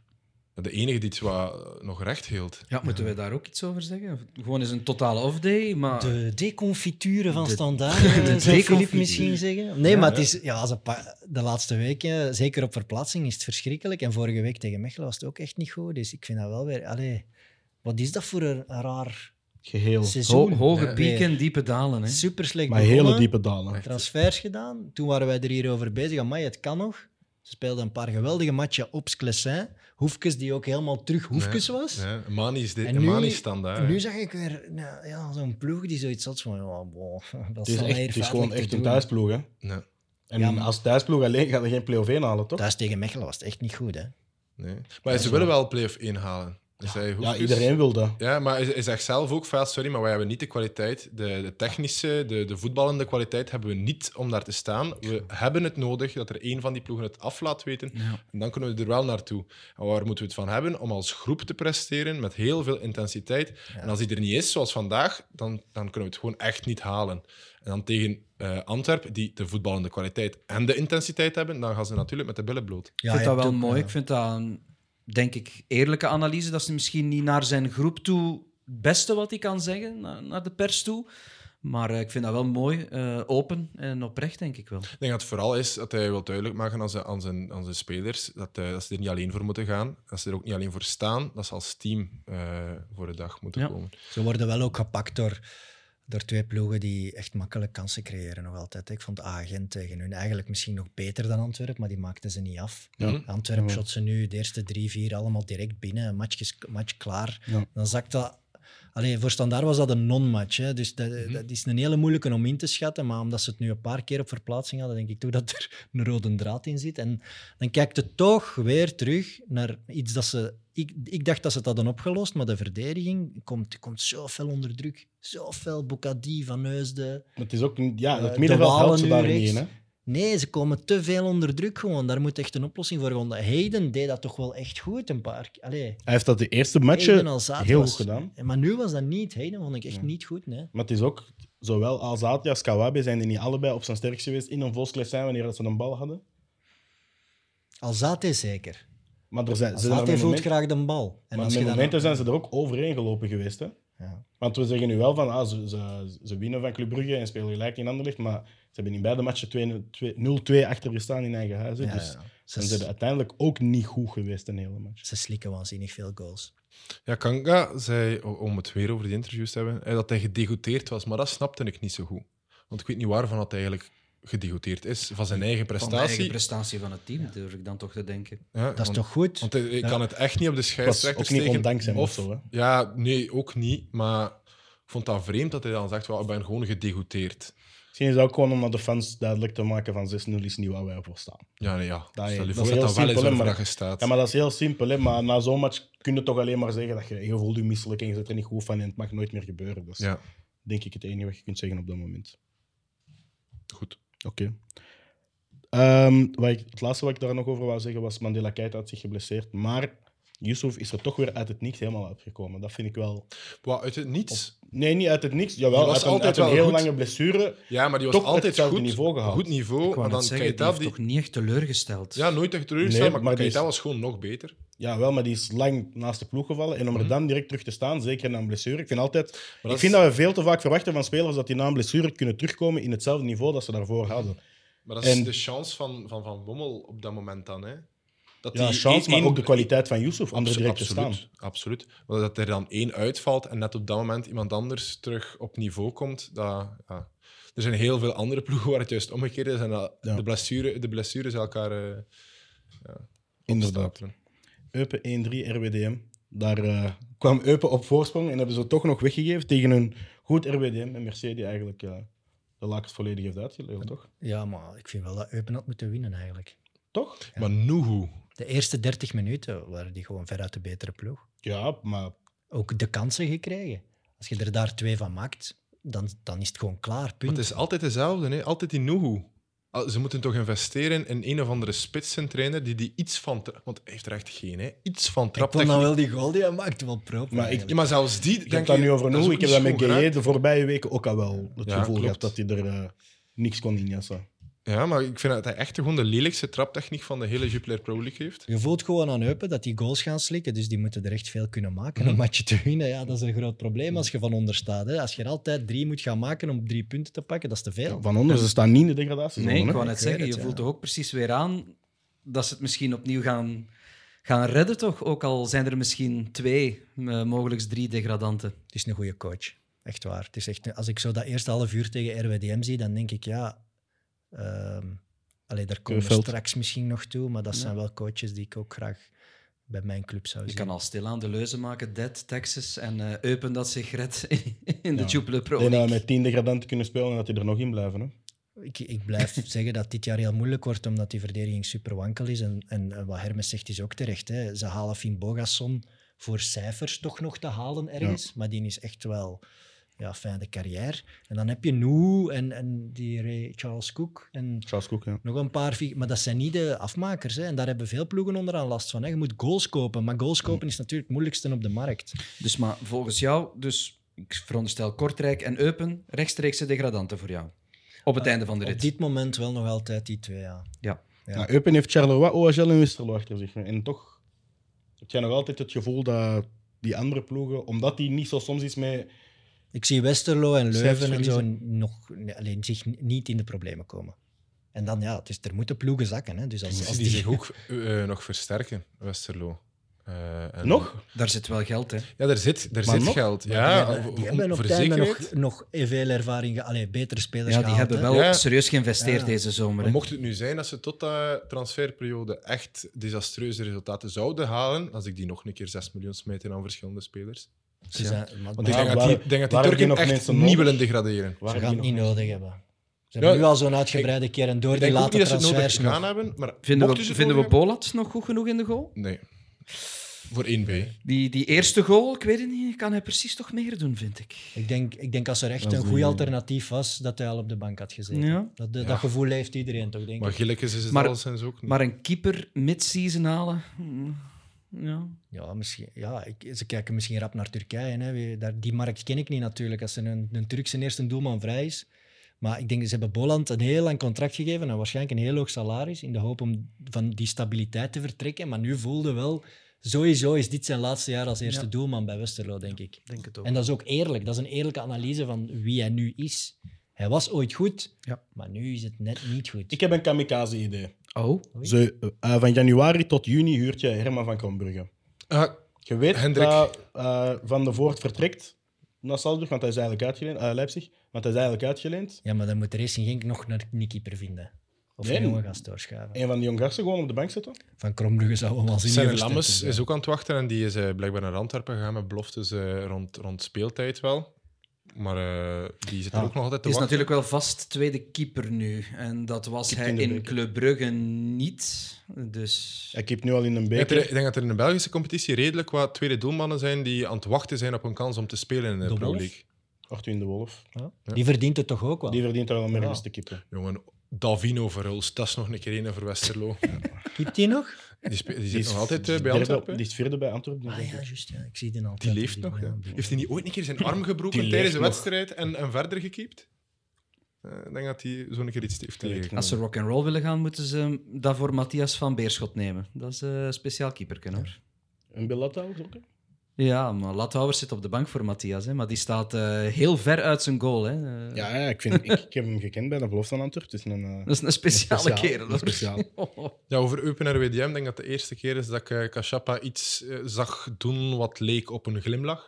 C: De enige die het wat nog recht hield.
D: Ja, moeten we daar ook iets over zeggen? Of- Gewoon eens een totale off-day, maar...
B: De deconfiture van
D: Ah. De-
B: standaard,
D: de
B: eh, zou Filip
D: deconfiture.
B: misschien zeggen. Nee,
D: Ja.
B: maar het is, ja, als een pa- de laatste weken, zeker op verplaatsing, is het verschrikkelijk. En vorige week tegen Mechelen was het ook echt niet goed. Dus ik vind dat wel weer... Allee, wat is dat voor een raar
A: Geheel.
D: Ho-
B: seizoen?
D: hoge
C: Ja.
D: pieken, diepe dalen. Hè.
B: Super slecht
A: Maar hele
B: begonnen.
A: diepe dalen.
B: transfers gedaan. Toen waren wij er hier over bezig. Amai, het kan nog. Ze speelden een paar geweldige matchen op Sclessin. Hoefkes, die ook helemaal terug Hoefkes was.
C: Ja, Mani is, de,
B: En nu-
C: Mani is dan daar.
B: En
C: hè.
B: nu zag ik weer nou, ja, zo'n ploeg die zoiets had van... Ja, boh, dat
A: Het is,
B: zal
A: echt,
B: hier
A: het is
B: feitelijk
A: gewoon
B: te
A: echt een
B: doen.
A: thuisploeg. Hè?
C: Nee,
A: En
B: Ja, maar-
A: als thuisploeg alleen gaat er geen play-off inhalen, toch?
B: Thuis tegen Mechelen was het echt niet goed, hè.
C: nee. Maar ze willen wel play-off inhalen. Dus hij hoeft
A: Ja,
C: dus-
A: iedereen wil dat.
C: Ja, maar hij, hij zegt zelf ook vaak, sorry, maar wij hebben niet de kwaliteit, de, de technische, de, de voetballende kwaliteit hebben we niet om daar te staan. We hebben het nodig dat er één van die ploegen het af laat weten.
D: Ja.
C: En dan kunnen we er wel naartoe. En waar moeten we het van hebben? Om als groep te presteren met heel veel intensiteit. En als die er niet is, zoals vandaag, dan, dan kunnen we het gewoon echt niet halen. En dan tegen eh Antwerpen, die de voetballende kwaliteit en de intensiteit hebben, dan gaan ze natuurlijk met de billen bloot.
D: ik
B: je
D: vind dat
B: hebt
D: wel
B: ook,
D: mooi.
B: ja.
D: Ik vind dat een denk ik, eerlijke analyse. Dat is misschien niet naar zijn groep toe het beste wat hij kan zeggen, naar, naar de pers toe. Maar eh, ik vind dat wel mooi, eh, open en oprecht, denk ik wel.
C: Ik denk dat het vooral is dat hij wil duidelijk maken aan zijn, aan zijn, aan zijn spelers dat, eh, dat ze er niet alleen voor moeten gaan. Dat ze er ook niet alleen voor staan. Dat ze als team eh, voor de dag moeten
D: Ja.
C: komen.
B: Ze worden wel ook gepakt door, door twee ploegen die echt makkelijk kansen creëren nog altijd. Ik vond A-agent tegen hun eigenlijk misschien nog beter dan Antwerpen, maar die maakten ze niet af.
A: Ja.
B: Antwerpen
A: Ja.
B: shot ze nu de eerste drie, vier allemaal direct binnen. Match, ges- match klaar.
A: Ja.
B: Dan zakt dat... Allee, voor standaard was dat een non-match. hè. Dus dat, dat is een hele moeilijke om in te schatten. Maar omdat ze het nu een paar keer op verplaatsing hadden, denk ik toch dat er een rode draad in zit. En dan kijkt het toch weer terug naar iets dat ze... Ik, ik dacht dat ze het hadden opgelost, maar de verdediging komt, komt zo fel onder druk. Zo fel. Bukadi, Van Heusden...
A: Maar het is ook, een- ja,
B: Eh,
A: het
B: de
A: middenveld
B: Walen
A: helpt ze
B: nu
A: daar
B: rechts.
A: niet in. Hè?
B: Nee, ze komen te veel onder druk gewoon. Daar moet echt een oplossing voor komen. Hayden deed dat toch wel echt goed een paar keer. Allee,
A: Hij heeft dat de eerste
B: Hayden
A: matchen
B: al zaad
A: heel
B: was-
A: goed gedaan.
B: Maar nu was dat niet. Hayden vond ik echt niet goed. Nee.
A: Maar het is ook, zowel Alzati als Kawabe zijn die niet allebei op zijn sterkst geweest in een volskleef zijn wanneer dat ze een bal hadden.
B: Alzate zeker.
A: Maar er zijn, ze zijn er
B: Alzate
A: met
B: voelt
A: moment-
B: graag de bal. En
A: maar
B: als je
A: met
B: dan-
A: momenten zijn ze er ook overheen gelopen geweest. Hè?
B: Ja.
A: Want we zeggen nu wel van ah, ze, ze, ze winnen van Club Brugge en spelen gelijk in Anderlecht, maar ze hebben in beide matchen 2-0 2 0-2 achter gestaan in eigen huizen.
B: Ja,
A: dus
B: ja, ja.
A: zijn ze er
B: Ze,
A: uiteindelijk ook niet goed geweest een hele match.
B: ze slikken waanzinnig veel goals.
C: Ja, Kanga zei, o- om het weer over die interviews te hebben, eh, dat hij gedegoteerd was. Maar dat snapte ik niet zo goed. Want ik weet niet waarvan dat eigenlijk gedegoteerd is. Van zijn eigen
D: Van de eigen
C: prestatie. Oh,
D: prestatie van het team, durf ik dan toch te denken.
C: Ja,
B: Dat is
C: want-
B: toch goed?
C: Want ik
B: Ja.
C: kan het echt niet op de
A: Het was
C: scheidsrechter
A: ook niet
C: steken.
A: ondanks hem of,
C: Of-
A: zo. Hè?
C: Ja, nee, ook niet. Maar ik vond dat vreemd dat hij dan zegt, wel, ik ben gewoon gedegoteerd.
A: Misschien is dat ook gewoon om aan de fans duidelijk te maken van 6-0 is niet waar wij voor staan.
C: Ja, nee, ja.
A: Dat-
C: Stel je
A: dat
C: voor
A: is heel
C: dat dat wel eens
A: simpel, hè,
C: over
A: maar-
C: dat staat.
A: Ja, maar dat is heel simpel. Hè? Maar na zo'n match kun je toch alleen maar zeggen dat je, je voelt je misselijk en je zit er niet goed van en het mag nooit meer gebeuren. Dat is
C: Ja,
A: denk ik het enige wat je kunt zeggen op dat moment.
C: goed.
A: Oké. Ehm, wat ik- het laatste wat ik daar nog over wou zeggen was: Mandela Keita had zich geblesseerd, maar Yusuf is er toch weer uit het niks helemaal uitgekomen. Dat vind ik wel.
C: Wat, uit het niets.
A: Nee, niet uit het niks.
C: Die
A: Jawel,
C: was
A: uit een,
C: altijd
A: uit een
C: wel
A: heel
C: goed.
A: lange blessure.
C: Ja, maar die was
A: Toch
C: altijd
A: hetzelfde
C: goed.
A: niveau gehaald.
C: Goed
D: Ik
C: niveau.
D: wou
C: En
D: net
C: dan
D: zeggen, die
C: Keita,
D: heeft
C: die...
D: toch niet echt teleurgesteld.
C: Ja, nooit echt teleurgesteld,
A: Nee,
C: maar,
A: maar die
C: Keita
A: is-
C: was gewoon nog beter.
A: Jawel, maar die is lang naast de ploeg gevallen. En om er dan direct terug te staan, zeker na een blessure. Ik vind, altijd,
C: Mhm. dat
A: ik vind
C: is-
A: dat we veel te vaak verwachten van spelers dat die na een blessure kunnen terugkomen in hetzelfde niveau dat ze daarvoor hadden.
C: Maar dat is
A: En-
C: de chance van, van Van Bommel op dat moment dan. Hè? Dat
A: Ja,
C: die
A: chance, maar
C: één-
A: ook de kwaliteit van Yusuf om er
C: Abso-
A: direct te staan.
C: absoluut, absoluut. Maar dat er dan één uitvalt en net op dat moment iemand anders terug op niveau komt. Dat, ja. Er zijn heel veel andere ploegen waar het juist omgekeerd is. En dat
A: Ja.
C: de, blessure, de blessures elkaar eh
A: Inderdaad.
C: stapelen.
A: Eupen 1-3 RWDM. Daar eh, kwam Eupen op voorsprong en hebben ze het toch nog weggegeven tegen een goed RWDM. En Mercedes eigenlijk eh, de lakens volledig heeft uitgeleerd, toch?
B: Ja, maar ik vind wel dat Eupen had moeten winnen eigenlijk.
A: Toch?
C: Maar Nuhu,
B: De eerste 30 minuten waren die gewoon veruit de betere ploeg.
A: Ja, maar
B: ook de kansen gekregen. Als je er daar twee van maakt, dan, dan is het gewoon klaar,
C: Maar
B: punt.
C: het is altijd dezelfde, hè? altijd die Nuhu. Ah, Ze moeten toch investeren in een of andere spitsentrainer die die iets van... tra- Want hij heeft er echt geen, hè? Iets van
B: ik vond dan
C: traptechniek.
B: wel die goal die hij maakte wel proper.
A: Maar ik-
B: eigenlijk.
C: Ja, maar zelfs die...
A: ik
C: denk
A: heb dat
C: je,
A: nu over
C: is
A: nu.
C: ook
A: Ik heb
C: niet
A: dat
C: goed
A: met E
C: geraakt.
A: Gueye de voorbije weken ook al wel het
C: Ja,
A: gevoel
C: klopt.
A: gehad dat hij er eh, niks kon injassen.
C: Ja, maar ik vind dat hij echt gewoon de lelijkste traptechniek van de hele Jupiler Pro League heeft.
B: Je voelt gewoon aan Eupen dat die goals gaan slikken, dus die moeten er echt veel kunnen maken
C: Mhm.
B: om een matje te winnen. Ja, dat is een groot probleem als je van onder staat. Hè. Als je er altijd drie moet gaan maken om drie punten te pakken, dat is te veel.
A: Van onder, ze staan niet in de degradatie.
D: Nee, ik wou
B: Ik
D: net
B: weet
D: zeggen,
B: het,
D: je
B: ja.
D: voelt toch ook precies weer aan dat ze het misschien opnieuw gaan, gaan redden, toch? Ook al zijn er misschien twee, eh, mogelijk drie degradanten.
B: Het is een goede coach, echt waar. Het is echt, als ik zo dat eerste half uur tegen RWDM zie, dan denk ik, ja... ehm allee, daar komen we
A: Veld.
B: straks misschien nog toe, maar dat
D: Ja.
B: zijn wel coaches die ik ook graag bij mijn club zou
D: Je
B: zien.
D: kan al stilaan de leuzen maken, Dead, Texas en eh, Eupen dat zich redt in de
A: Ja.
D: Jupiler Pro
A: En
D: League.
A: nou met tien degradanten kunnen spelen en dat die er nog in blijven. Hè?
B: Ik, ik blijf zeggen dat dit jaar heel moeilijk wordt, omdat die verdediging super wankel is. En, en, eh, wat Hermes zegt is ook terecht. Hè. Ze halen Finn Bogasson voor cijfers toch nog te halen ergens. Maar die is echt wel ja, fijne carrière. En dan heb je Nou en, en die Ray Charles Cook en
A: Charles Cook, ja.
B: nog een paar. fig- Maar dat zijn niet de afmakers. Hè. En daar hebben veel ploegen onderaan last van. Hè. Je moet goals kopen. Maar goals kopen is natuurlijk het moeilijkste op de markt.
D: Dus maar volgens jou, dus ik veronderstel Kortrijk en Eupen, rechtstreekse degradanten voor jou. Op het einde van de
B: Op
D: rit.
B: dit moment wel nog altijd die twee. Ja.
D: Ja.
B: Ja.
A: Nou, Eupen heeft Charleroi, OHL en Westerlo achter zich. En toch Heb jij nog altijd het gevoel dat die andere ploegen, omdat die niet zo soms iets mee...
B: Ik zie Westerlo en Leuven en zo
A: verliezen.
B: nog, nee, alleen zich n- niet in de problemen komen. En dan ja, het is, er moeten ploegen zakken. Hè? Dus als, als
C: Als die zich ook eh, nog versterken, Westerlo. Eh, en-
A: Nog?
D: Daar zit wel geld, hè.
C: Ja, daar zit, daar
A: Maar
C: zit
A: nog?
C: geld.
B: die
C: Ja, om-
B: hebben, die
C: om-
B: hebben op
C: voor
B: het einde nog,
C: zekerheid.
B: nog veel ervaring, ge- allee, betere spelers
D: Ja, die
B: gehaald,
D: hebben
B: hè.
D: wel
C: Ja.
D: serieus geïnvesteerd
B: Ja.
D: deze zomer.
C: Maar
D: hè.
C: mocht het nu zijn dat ze tot de transferperiode echt desastreuze resultaten zouden halen, als ik die nog een keer 6 miljoen smijten aan verschillende spelers.
B: Ze
D: Ja.
B: zijn- maar-
C: Want
B: maar
C: ik denk
A: Waar-
C: dat die,
A: waar-
C: denk dat die
A: waar hebben die
C: Turken
A: nog
C: echt
A: mensen
C: niet
A: nodig?
C: willen degraderen.
A: Waar
B: ze
A: heb
B: gaan
A: je
B: het
A: nog-
B: niet nodig hebben. Ze hebben
C: Ja,
B: nu al zo'n uitgebreide keer en door
C: Ik
B: die
C: denk ook
B: late
C: niet dat ze het nodig
B: transfers. nog.
C: gedaan hebben, maar
D: Vinden
C: mochten
D: we,
C: ze het
D: vinden we
C: nodig
D: Bolat nog goed genoeg in de goal?
C: hebben- Nee. Voor 1B.
D: Die, die eerste goal, ik weet het niet, kan hij precies toch meer doen, vind ik.
B: Ik denk, ik denk als er echt
A: Dat
B: een
A: is
B: goed
A: die-
B: alternatief was, dat hij al op de bank had gezeten.
D: Ja.
B: Dat, dat
C: Ja.
B: gevoel heeft iedereen toch, denk
C: Maar
B: ik.
C: Gillekes is het
D: Maar-
C: maar, alleszins ook niet.
D: Maar een keeper mid-season halen... hmm, Ja.
B: Ja, misschien, ja ik, ze kijken misschien rap naar Turkije. Hè. Wie- Daar, die markt ken ik niet natuurlijk. Als er een, een Turkse eerste doelman vrij is. Maar ik denk, ze hebben Boland een heel lang contract gegeven en waarschijnlijk een heel hoog salaris in de hoop om van die stabiliteit te vertrekken. Maar nu voelde wel, sowieso is dit zijn laatste jaar als eerste
D: Ja.
B: doelman bij Westerlo, denk ik.
D: Denk het ook.
B: En dat is ook eerlijk. Dat is een eerlijke analyse van wie hij nu is. Hij was ooit goed,
D: Ja.
B: maar nu is het net niet goed.
A: Ik heb een kamikaze-idee.
D: Oh,
A: Ze, eh, van januari tot juni huurt je Herman van Kronbrugge.
C: Ah,
A: Je weet
C: Hendrik.
A: dat eh, Van de Voort vertrekt naar Salzburg, want hij is eigenlijk uitgeleend. eh, Leipzig, want hij is eigenlijk uitgeleend.
B: Ja, maar dan moet Racing Genk nog een, een keeper vinden. Of
A: Nee,
B: een jonge
A: nee.
B: gast doorschuiven.
A: Een van die jong gasten gewoon op de bank zetten.
B: Van Krombrugge zou een waanzinnige
C: Senne
B: versterking
C: Lammes
B: zijn.
C: is ook aan het wachten en die is eh, blijkbaar naar Antwerpen gegaan met beloftes eh, rond, rond speeltijd wel. Maar eh, die zit er
B: Ja,
C: ook nog altijd
D: het
C: te
D: is
C: wachten.
D: natuurlijk wel vast tweede keeper nu. En dat was
A: Keept
D: hij
A: in de
D: in
A: beker.
D: Club Brugge niet. Dus...
A: Hij keept nu al in een
C: Ik denk,
A: beker.
C: er- ik denk dat er in de Belgische competitie redelijk wat tweede doelmannen zijn die aan het wachten zijn op een kans om te spelen in de,
B: De
C: Pro
B: Wolf?
C: League.
A: Arthur de Wolf.
B: Ja.
C: Ja.
B: Die verdient het toch ook wel?
A: Die verdient daar wel meer
B: Ja.
A: eens te kippen.
C: Jongen, Davino Verhulst, dat is nog een keer een voor Westerlo.
B: Kiept die nog?
C: Die, spe- die
A: Die
C: zit
A: is
C: nog altijd eh, bij
A: derde-
C: Antwerpen.
A: Die
C: Die,
A: is vierde bij Antwerpen.
B: Ah
A: denk
B: ja,
A: ik.
B: juist. Ja. Ik zie die altijd.
C: leeft nog.
B: ja.
C: ja. Heeft hij niet ooit een keer zijn arm gebroken
A: Die
C: tijdens een
A: leeft nog.
C: wedstrijd en, en verder gekiept? Eh, ik denk dat hij zo een keer iets heeft
A: Die weet
C: tegen.
A: ik
D: Als ze rock and roll willen gaan, moeten ze daarvoor Matthias van Beerschot nemen. Dat is eh, een speciaal keeper, hoor.
A: Een Bellatta ook. hè?
D: Ja, maar Lathouwers zit op de bank voor Matthias, hè, maar die staat eh, heel ver uit zijn goal. Hè. Eh,
A: Ja, ja ik, vind, ik, ik heb hem gekend bij de belofte van Antwerpen. Het is een, eh,
D: Dat is een speciale
A: Speciaal,
D: kerel. hoor.
A: speciaal.
C: Ja, over Eupen en RWDM denk ik dat de eerste keer is dat ik eh, Kashapa iets eh, zag doen wat leek op een glimlach.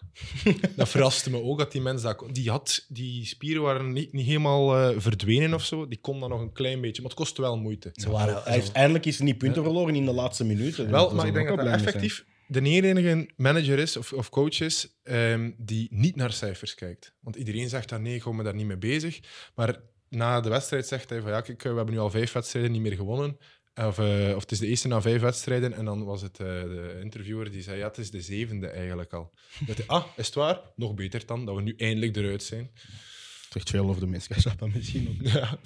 C: dat verraste me ook, dat die mens dat kon. Die, had, die spieren waren niet, niet helemaal eh, verdwenen of zo. Die kon dan nog een klein beetje, maar het kostte wel moeite.
B: Ze waren
A: hij heeft, eindelijk is hij niet punten verloren in de laatste minuten.
C: Wel,
A: Daar
C: maar
A: zou
C: ik denk
A: ook
C: dat
A: wel
C: hij
A: blij mee zijn.
C: effectief de enige manager is of, of coach is ehm, die niet naar cijfers kijkt. Want iedereen zegt daar nee, ik hou me daar niet mee bezig. Maar na de wedstrijd zegt hij van ja, kijk, eh, we hebben nu al vijf wedstrijden niet meer gewonnen. Of, eh, of het is de eerste na vijf wedstrijden. En dan was het eh, de interviewer die zei ja, het is de zevende eigenlijk al. Dat hij, ah, is het waar? Nog beter dan, dat we nu eindelijk eruit zijn.
A: Het zegt veel over de mens. Kashapa misschien ook.
C: ja,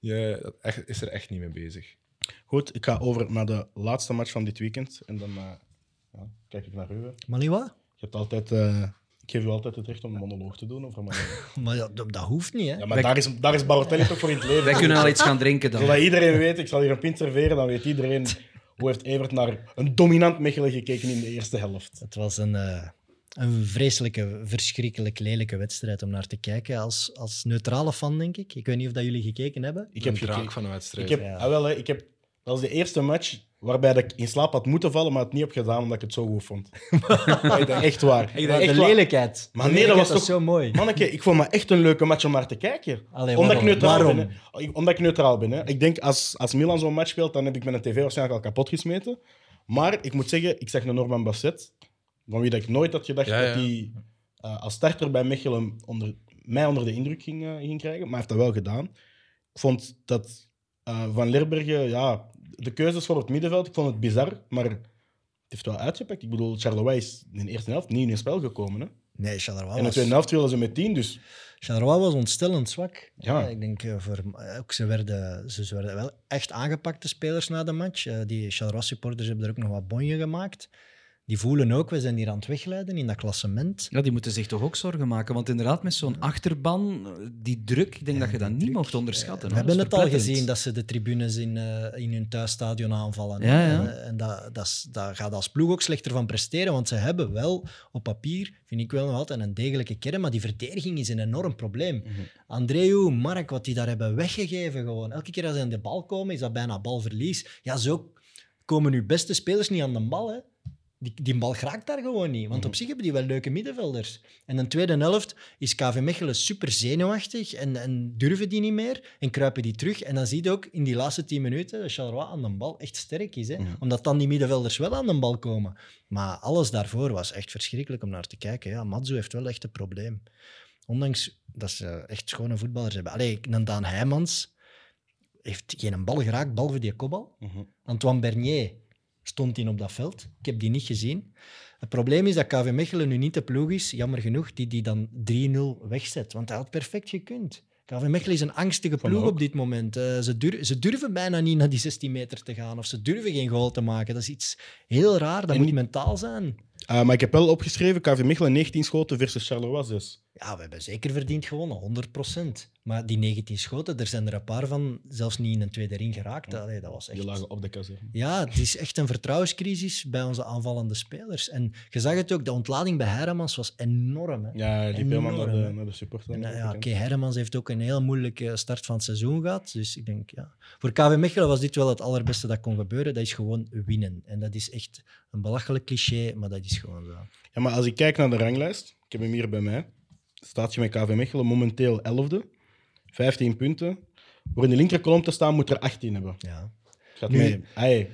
C: ja, dat echt, is er echt niet mee bezig.
A: Goed, ik ga over naar de laatste match van dit weekend. En dan eh, ja, kijk ik naar u. hè.
B: Maliwa?
A: Je hebt altijd, eh, ik geef u altijd het recht om een monoloog te doen over Maliwa.
B: Maar dat, dat dat hoeft niet, hè?
A: Ja, maar daar is, daar is Barotelli toch voor in het leven.
D: Wij kunnen al iets gaan drinken dan.
A: Zodat iedereen weet, ik zal hier een pint serveren, dan weet iedereen hoe heeft Evert naar een dominant Mechelen gekeken in de eerste helft.
B: Het was een, eh, een vreselijke, verschrikkelijk lelijke wedstrijd om naar te kijken. Als, als neutrale fan, denk ik. Ik weet niet of dat jullie gekeken hebben.
A: Ik
C: een
A: heb
C: draak
A: gekeken.
C: van een wedstrijd.
A: Ik heb,
B: Ja.
A: ah, wel, hè, ik heb, dat was de eerste match waarbij dat ik in slaap had moeten vallen, maar het niet heb gedaan omdat ik het zo goed vond. Maar ik denk, echt waar.
B: Maar
A: Maar echt
B: de
A: waar.
B: lelijkheid.
A: Maar
B: De
A: nee, dat
B: lelijkheid
A: was toch-
B: zo mooi.
A: Manneke, ik vond me echt een leuke match om naar te kijken.
B: Allee,
A: omdat, ik
B: waarom?
A: neutraal
B: Waarom?
A: ben, hè. Ik- omdat ik neutraal ben. Hè. Ik denk, als, als Milan zo'n match speelt, dan heb ik mijn tv waarschijnlijk al kapot gesmeten. Maar ik moet zeggen, ik zag een Norman Basset, van wie dat ik nooit had gedacht
C: Ja, ja.
A: dat hij eh, als starter bij Mechelen onder, mij onder de indruk ging, eh, ging krijgen. Maar hij heeft dat wel gedaan. Ik vond dat eh, Van Lerbergen, ja, de keuzes voor het middenveld, ik vond het bizar, maar het heeft wel uitgepakt. Ik bedoel, Charleroi is in de eerste helft niet in hun spel gekomen. Hè.
B: Nee, Charleroi
A: En in de
B: was,
A: tweede helft wilden ze met tien, dus...
B: Charleroi was ontstellend zwak.
A: Ja.
B: ik denk, eh, voor, eh, ook, ze, werden, ze ze werden wel echt aangepakt, de spelers, na de match. Eh, die Charleroi-supporters hebben er ook nog wat bonje gemaakt. Die voelen ook, we zijn hier aan het wegleiden in dat klassement.
D: Ja, die moeten zich toch ook zorgen maken. Want inderdaad, met zo'n achterban, eh, die druk, ik denk dat je dat niet mocht onderschatten.
B: We
D: hoor.
B: hebben
D: Dat
B: het
D: is
B: al
D: verpletterend.
B: gezien dat ze de tribunes in, eh, in hun thuisstadion aanvallen.
D: Ja, ja.
B: En, eh, en dat, dat, is- daar gaat als ploeg ook slechter van presteren, want ze hebben wel op papier, vind ik wel nog altijd, een degelijke kern, maar die verdediging is een enorm probleem.
D: Mhm.
B: Andreu, Mark, wat die daar hebben weggegeven gewoon. Elke keer als ze aan de bal komen, is dat bijna balverlies. Ja, zo komen uw beste spelers niet aan de bal, hè. Die, die bal raakt daar gewoon niet.
D: Mhm.
B: Want op zich hebben die wel leuke middenvelders. En de tweede helft is KV Mechelen super zenuwachtig en, en durven die niet meer en kruipen die terug. En dan zie je ook in die laatste tien minuten dat Charleroi aan de bal echt sterk is. Hè? Omdat dan die middenvelders wel aan de bal komen. Maar alles daarvoor was echt verschrikkelijk om naar te kijken. Ja, Matsu heeft wel echt een probleem. Ondanks dat ze echt schone voetballers hebben. Allee, een Daan Heijmans heeft geen bal geraakt, behalve die kopbal. Antoine Bernier stond in op dat veld. Ik heb die niet gezien. Het probleem is dat KV Mechelen nu niet de ploeg is, jammer genoeg, die die dan 3-0 wegzet. Want hij had perfect gekund. KV Mechelen is een angstige
A: mij
B: ploeg
A: ook.
B: op dit moment. Eh, ze, dur- ze durven bijna niet naar die 16 meter te gaan of ze durven geen goal te maken. Dat is iets heel raar, dat
A: En
B: moet
A: niet-
B: mentaal zijn.
A: Eh, maar ik heb wel opgeschreven, KV Mechelen 19 schoten versus dus. Charleroi 6.
B: Ja, we hebben zeker verdiend gewonnen, 100%. Maar die 19 schoten, er zijn er een paar van zelfs niet in een tweede ring geraakt. Allee, dat was echt...
A: Die lagen op de kazerne.
B: Ja, het is echt een vertrouwenscrisis bij onze aanvallende spelers. En je zag het ook, de ontlading bij Hermans was enorm. Hè?
A: Ja, die
B: Enorm,
A: helemaal naar de,
B: hè.
A: naar de supporters.
B: En,
A: aan
B: eh,
A: de
B: ja,
A: overkant.
B: Kay Hermans heeft ook een heel moeilijke start van het seizoen gehad. Dus ik denk, ja. Voor KV Mechelen was dit wel het allerbeste dat kon gebeuren. Dat is gewoon winnen. En dat is echt een belachelijk cliché, maar dat is gewoon zo.
A: Ja, maar als ik kijk naar de ranglijst, ik heb hem hier bij mij, staat je met KV Mechelen momenteel 11e, 15 punten. Voor in de linkerkolom te staan moet er 18 hebben.
B: Ja.
A: Gaat
B: Nu-
A: mee. Ai,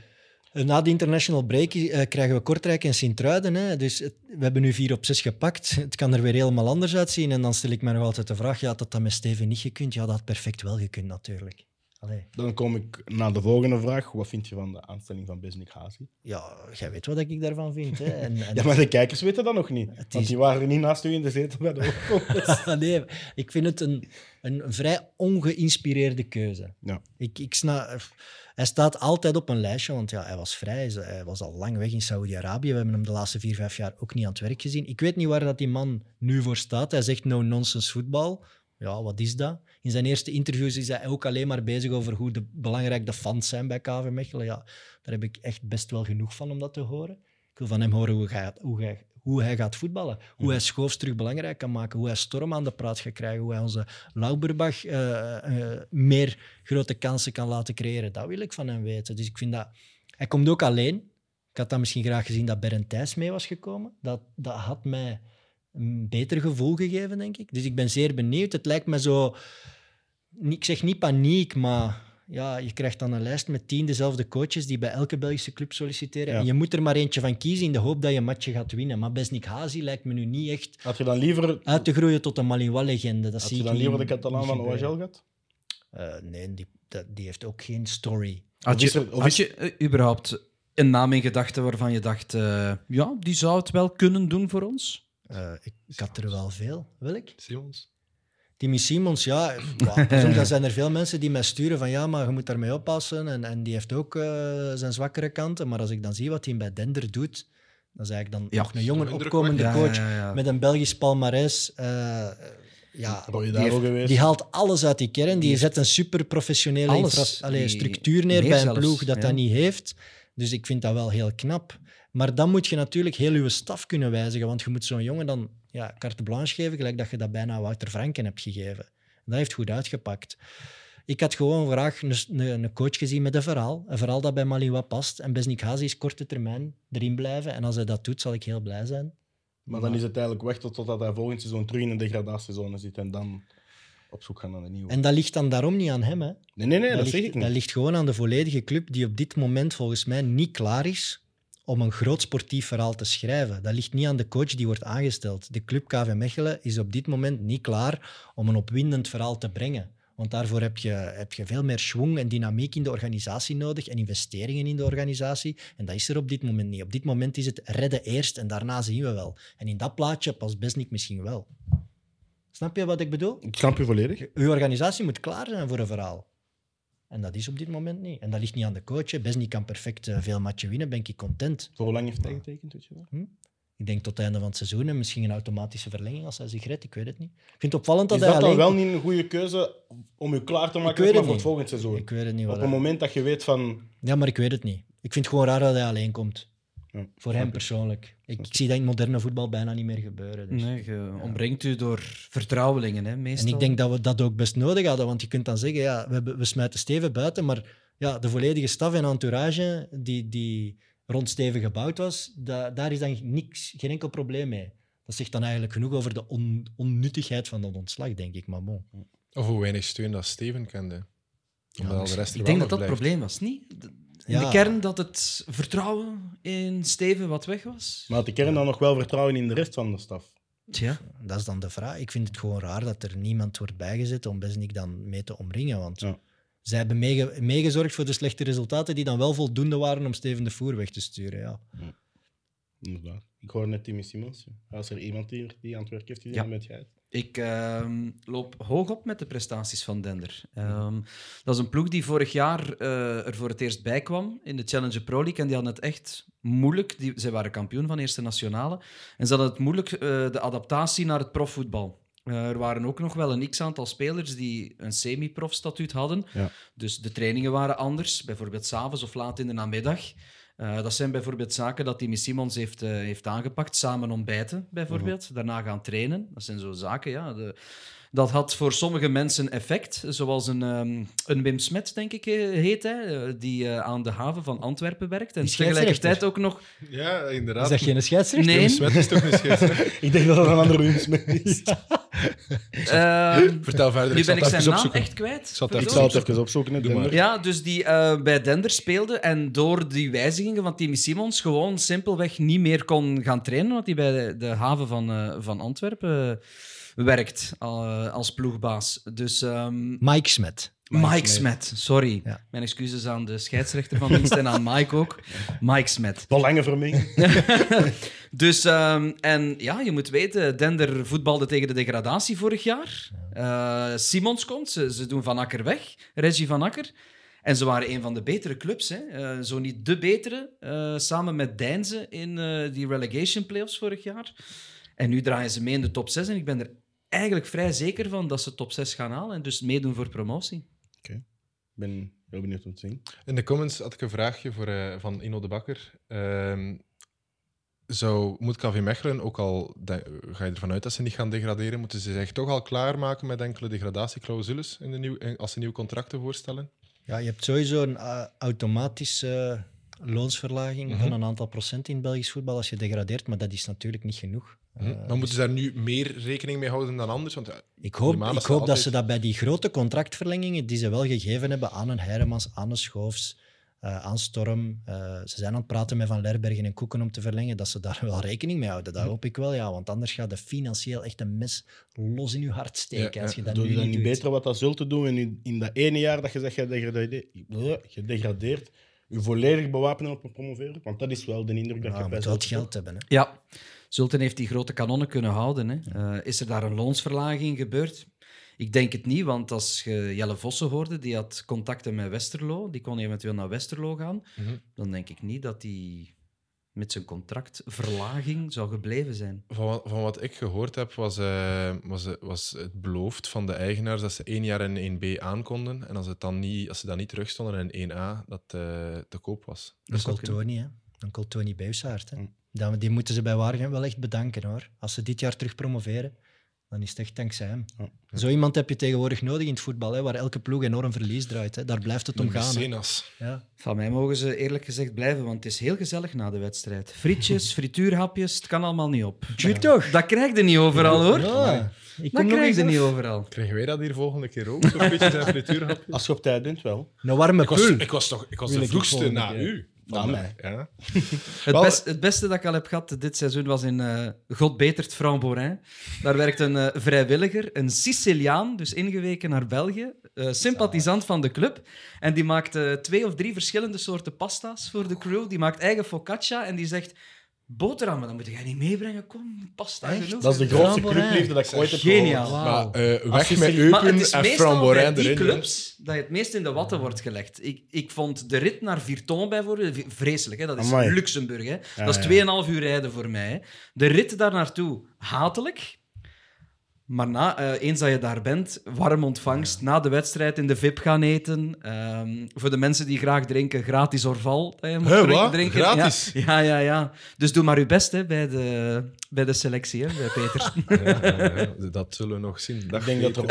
B: Eh, Na de international break eh, krijgen we Kortrijk en Sint-Truiden. hè. Dus het- we hebben nu vier op zes gepakt. Het kan er weer helemaal anders uitzien. En dan stel ik me nog altijd de vraag, ja, had dat dan met Steven niet gekund? Ja, dat had perfect wel gekund natuurlijk. Allee.
A: dan kom ik naar de volgende vraag. Wat vind je van de aanstelling van Besnik Hazi?
B: Ja, jij weet wat ik daarvan vind. Hè? En, en-
A: Ja, maar de kijkers weten dat nog niet. Want
B: is-
A: die waren niet naast u in de zetel bij de overkomst.
B: nee, ik vind het een, een vrij ongeïnspireerde keuze.
A: Ja.
B: Ik, ik sna- hij staat altijd op een lijstje, want ja, hij was vrij. Hij- Hij was al lang weg in Saudi-Arabië. We hebben hem de laatste vier, vijf jaar ook niet aan het werk gezien. Ik weet niet waar dat die man nu voor staat. Hij zegt no-nonsense voetbal. Ja, wat is dat? In zijn eerste interviews is hij ook alleen maar bezig over hoe de, belangrijk de fans zijn bij KV Mechelen. Ja, daar heb ik echt best wel genoeg van om dat te horen. Ik wil van hem horen hoe, gaat, hoe, hij, hoe hij gaat voetballen. Hoe hij Schoofs terug belangrijk kan maken. Hoe hij Storm aan de praat gaat krijgen. Hoe hij onze Lauberbach eh, eh, meer grote kansen kan laten creëren. Dat wil ik van hem weten. Dus ik vind dat... Hij komt ook alleen. Ik had dan misschien graag gezien dat Berend Thijs mee was gekomen. Dat, dat had mij een beter gevoel gegeven, denk ik. Dus ik ben zeer benieuwd. Het lijkt me zo... niet- Ik zeg niet paniek, maar... Ja, je krijgt dan een lijst met tien dezelfde coaches die bij elke Belgische club solliciteren.
A: Ja.
B: En je moet er maar eentje van kiezen in de hoop dat je een matje gaat winnen. Maar Besnik Hazi lijkt me nu niet echt
A: Had je dan liever,
B: uit te groeien tot een Malinois-legende.
A: had
B: Dat zie
A: je
B: ik
A: dan liever de
B: niet-
A: Catalaan
B: niet
A: van
B: gebeuren.
A: OHL gehad?
B: Eh, nee, die, dat- die heeft ook geen story.
D: Had
A: Of is
D: je,
A: er- of
D: had
A: is-
D: je eh, überhaupt een naam in gedachten waarvan je dacht, eh, ja, die zou het wel kunnen doen voor ons?
B: Eh, ik, ik had er wel veel. Welk?
C: Simons.
B: Timmy Simons, ja. wauw, Soms dan zijn er veel mensen die mij sturen van ja, maar je moet daarmee oppassen. En, en die heeft ook eh, zijn zwakkere kanten. Maar als ik dan zie wat hij bij Dender doet, dan zeg ik dan
D: Ja,
B: nog een jonge
C: indrukwekkend.
B: opkomende
D: Ja,
B: coach
D: ja, ja.
B: met een Belgisch palmares. eh, eh, ja,
A: Word je daar ook geweest?
B: Die haalt alles uit die kern. Die,
D: Die
B: zet een super professionele
D: alles. Die-
B: structuur neer
D: meer
B: bij een
D: zelfs,
B: ploeg dat
D: ja.
B: dat niet heeft. Dus ik vind dat wel heel knap. Maar dan moet je natuurlijk heel je staf kunnen wijzigen. Want je moet zo'n jongen dan ja, carte blanche geven, gelijk dat je dat bijna Wouter Franken hebt gegeven. Dat heeft goed uitgepakt. Ik had gewoon graag een, een, een coach gezien met een verhaal. Een verhaal dat bij Maliwa past. En Besnik Hazi is korte termijn erin blijven. En als hij dat doet, zal ik heel blij zijn.
A: Maar dan is het eigenlijk wachten totdat hij volgend seizoen terug in de degradatiezone zit en dan op zoek gaan naar een nieuwe.
B: En dat ligt dan daarom niet aan hem, hè?
A: Nee, nee, nee, dat,
B: dat,
A: zeg
B: ligt,
A: ik niet.
B: dat ligt gewoon aan de volledige club die op dit moment volgens mij niet klaar is om een groot sportief verhaal te schrijven. Dat ligt niet aan de coach die wordt aangesteld. De club KV Mechelen is op dit moment niet klaar om een opwindend verhaal te brengen. Want daarvoor heb je, heb je veel meer schwung en dynamiek in de organisatie nodig en investeringen in de organisatie. En dat is er op dit moment niet. Op dit moment is het redden eerst en daarna zien we wel. En in dat plaatje past Besnik misschien wel. Snap je wat ik bedoel?
A: Ik snap je volledig.
B: Uw organisatie moet klaar zijn voor een verhaal. En dat is op dit moment niet. En dat ligt niet aan de coach. hè. Besnie kan perfect eh, veel matchen winnen, ben ik content.
A: Voor hoe lang heeft hij getekend? Weet je wel?
B: Ik denk tot het einde van het seizoen en misschien een automatische verlenging als hij zich redt. Ik weet het niet. Ik vind het opvallend dat
A: Is
B: hij
A: dat dan
B: alleen...
A: wel niet een goede keuze om je klaar te maken
B: weet
A: maar voor
B: het
A: het
B: niet.
A: volgende seizoen?
B: Ik weet het niet.
A: Op
B: Wat
A: het
B: hij-
A: moment dat je weet van...
B: Ja, maar ik weet het niet. Ik vind het gewoon raar dat hij alleen komt.
A: Ja,
B: Voor hem persoonlijk. Ik, ik zie dat in moderne voetbal bijna niet meer gebeuren. dus.
D: Nee, je ombrengt u door vertrouwelingen, hè,
B: En
D: meestal.
B: ik denk dat we dat ook best nodig hadden, want je kunt dan zeggen, ja, we, hebben- we smijten Steven buiten, maar ja, de volledige staf en entourage die, die rond Steven gebouwd was, da- daar is dan niks, geen enkel probleem mee. Dat zegt dan eigenlijk genoeg over de on- onnuttigheid van dat ontslag, denk ik. Maar bon.
C: Of hoe weinig steun dat Steven kende. Omdat al de rest er
D: Ik
C: wel nog
D: denk dat dat het
C: blijft.
D: probleem was, niet? De- In
B: Ja.
D: de kern dat het vertrouwen in Steven wat weg was?
A: Maar had de kern dan nog wel vertrouwen in de rest van de staf?
D: Tja.
B: Dat is dan de vraag. Ik vind het gewoon raar dat er niemand wordt bijgezet om Besnik dan mee te omringen. Want
A: Ja.
B: zij hebben meege- meegezorgd voor de slechte resultaten die dan wel voldoende waren om Steven de Voer weg te sturen. Ja.
A: Inderdaad. Ik hoor net Timmy Simmons. Als er iemand hier die aan het werk heeft, die
D: Ja.
A: dan met jij.
D: Ik ehm, loop hoog op met de prestaties van Dender. Ehm, dat is een ploeg die vorig jaar eh, er voor het eerst bij kwam in de Challenger Pro League. En die hadden het echt moeilijk. Die, zij waren kampioen van Eerste Nationale. En ze hadden het moeilijk, eh, de adaptatie naar het profvoetbal. Eh, er waren ook nog wel een x-aantal spelers die een semi-prof-statuut hadden.
A: Ja.
D: Dus de trainingen waren anders, bijvoorbeeld s'avonds of laat in de namiddag. Eh, dat zijn bijvoorbeeld zaken dat Timmy Simons heeft, eh, heeft aangepakt. Samen ontbijten, bijvoorbeeld.
B: Mhm.
D: Daarna gaan trainen. Dat zijn zo zaken, ja. De, dat had voor sommige mensen effect. Zoals een, ehm, een Wim Smet, denk ik, eh, heet hij. eh, Die eh, aan de haven van Antwerpen werkt. En
B: Die scheidsrechter.
D: tegelijkertijd ook nog...
C: Ja,
B: Is
C: inderdaad.
B: dat geen scheidsrechter?
D: Nee.
C: Wim Smet is toch een scheidsrechter?
A: Ik denk dat dat een andere Wim Smith is.
D: ehm,
C: Vertel verder.
D: nu
C: zal
D: ben
C: het
D: ik zijn
C: even
D: naam
C: opzoeken.
D: echt kwijt.
C: zal het
A: ik zal
D: Verdorie.
A: het even opzoeken. hè,
C: Doe maar.
A: Denver.
D: Ja, dus die eh, bij Dender speelde en door die wijzigingen van Timmy Simons gewoon simpelweg niet meer kon gaan trainen, omdat hij bij de, de haven van, eh, van Antwerpen eh, werkt eh, als ploegbaas. Dus ehm,
B: Mike Smet.
A: Mike
D: Mike, Smet, sorry.
B: Ja.
D: Mijn excuses aan de scheidsrechter van dienst en aan Mike ook. Mike Smet.
A: Wel lange vermenging.
D: Dus, ehm, en ja, je moet weten, Dender voetbalde tegen de degradatie vorig jaar. Eh, Simons komt, ze, ze doen Van Akker weg, Reggie Van Akker. En ze waren een van de betere clubs, hè. Eh, zo niet de betere, eh, samen met Deinze in eh, die relegation playoffs vorig jaar. En nu draaien ze mee in de top 6 en ik ben er eigenlijk vrij zeker van dat ze top 6 gaan halen en dus meedoen voor promotie.
A: Ik ben heel benieuwd om te zien.
C: In de comments had ik een vraagje voor, eh, van Ino de Bakker. Ehm, zou, moet KV Mechelen, ook al de- ga je ervan uit dat ze niet gaan degraderen, moeten ze zich toch al klaarmaken met enkele degradatieclausules in de nieuw, in- als ze nieuwe contracten voorstellen?
B: Ja, je hebt sowieso een eh, automatische eh, loonsverlaging van
C: Mhm.
B: een aantal procent in Belgisch voetbal als je degradeert, maar dat is natuurlijk niet genoeg.
C: Hm?
B: Eh,
C: maar moeten ze daar nu meer rekening mee houden dan anders? Want, eh,
B: Ik hoop,
C: Normaal
B: ik
C: is dat
B: hoop dat
C: altijd-
B: ze dat bij die grote contractverlengingen die ze wel gegeven hebben aan een Hermans, aan een Schoofs, eh, aan Storm. eh, ze zijn aan het praten met Van Lerbergen en Koeken om te verlengen, dat ze daar wel rekening mee houden. Dat hoop ik wel, ja. Want anders gaat de financieel echt een mes los in je hart steken.
C: Ja,
B: als
C: ja.
B: je dat
A: Doe
B: nu
A: je dan
B: niet
A: niet
B: doet.
A: beter wat dat zult te doen en in, in dat ene jaar dat je zegt, je degradeert, eh, je degradeert, je volledig bewapenen op een promoveren? Want dat is wel de indruk dat
B: Ja,
A: je
B: je
A: bij
B: moet wel het geld hebben. Hè.
D: Ja, Zulten heeft die grote kanonnen kunnen houden. Hè. Eh, is er daar een loonsverlaging gebeurd? Ik denk het niet, want als je Jelle Vossen hoorde, die had contacten met Westerlo, die kon eventueel naar Westerlo gaan,
C: Mhm.
D: dan denk ik niet dat die met zijn contractverlaging zou gebleven zijn.
C: Van, wa- van wat ik gehoord heb, was, eh, was, eh, was het beloofd van de eigenaars dat ze één jaar in 1B aankonden. En als, het dan niet, als ze dan niet terugstonden in 1A, dat eh, te koop was.
B: Dan
D: zou
B: komt Tony, hè. Dan komt Tony Beushaard, hè.
A: Hm.
C: Mm.
B: Dan, die moeten ze bij Waregem wel echt bedanken, hoor. Als ze dit jaar terug promoveren, dan is het echt dankzij hem.
A: Ja.
B: Zo iemand heb je tegenwoordig nodig in het voetbal, hè, waar elke ploeg enorm verlies draait. Hè. Daar blijft het om gaan. hè.
C: Mecenas.
B: Ja.
D: Van mij mogen ze eerlijk gezegd blijven, want het is heel gezellig na de wedstrijd. Frietjes, frituurhapjes, het kan allemaal niet op.
B: Tuurlijk toch?
D: Dat krijg je niet overal, hoor.
B: Ja, ik
D: Dat
B: kom nog
D: krijg
B: eens
D: je niet
B: af.
D: overal.
C: Krijgen wij dat hier volgende keer ook? Zo'n beetje zijn frituurhapje?
A: Als je op tijd bent, wel.
B: Een warme
C: Ik was,
B: pul.
C: ik was, toch, ik was
B: Wil
C: de
B: ik
C: vroegste
B: volgende
C: na
B: keer.
C: u.
A: Na mij.
C: Ja.
D: Het,
C: Wel-
D: best- het beste dat ik al heb gehad dit seizoen was in eh Godbetert Framborin. Daar werkt een eh, vrijwilliger, een Siciliaan, dus ingeweken naar België, eh, sympathisant van de club. En die maakt eh, twee of drie verschillende soorten pasta's voor de crew. Die maakt eigen focaccia en die zegt... Boterhammen, dat moet jij niet meebrengen. Kom, pasta
B: Echt?
D: genoeg.
A: Dat is de
B: grote
A: grootste
B: Framborin.
A: clubliefde dat ik ooit heb
D: Geniaal.
A: gehoord.
B: Wauw.
C: Maar eh,
A: Als je
C: weg met
A: zegt-
C: Eupen
D: Maar het is
C: en
D: meestal bij
C: Framborin
D: die
C: erin. hè.
D: clubs dat je het meest in de watten wordt gelegd. Ik, ik vond de rit naar Virton bijvoorbeeld v- vreselijk. Hè? Dat is
A: Amai.
D: Luxemburg. Hè?
A: Ja,
D: dat
A: ja.
D: is 2,5 uur rijden voor mij. hè. De rit daar naartoe, hatelijk. Maar na, eh, eens dat je daar bent, warm ontvangst. Na de wedstrijd in de VIP gaan eten. Ehm, voor de mensen die graag drinken, gratis Orval. dat je moet
C: Hè,
D: drinken-
C: wat?
D: drinken.
C: Gratis?
D: Ja, ja, ja, ja. Dus doe maar je best hè, bij, de, bij de selectie, hè, bij Peter.
C: Ja, ja, ja, dat zullen we nog zien.
A: Ik denk dat, er,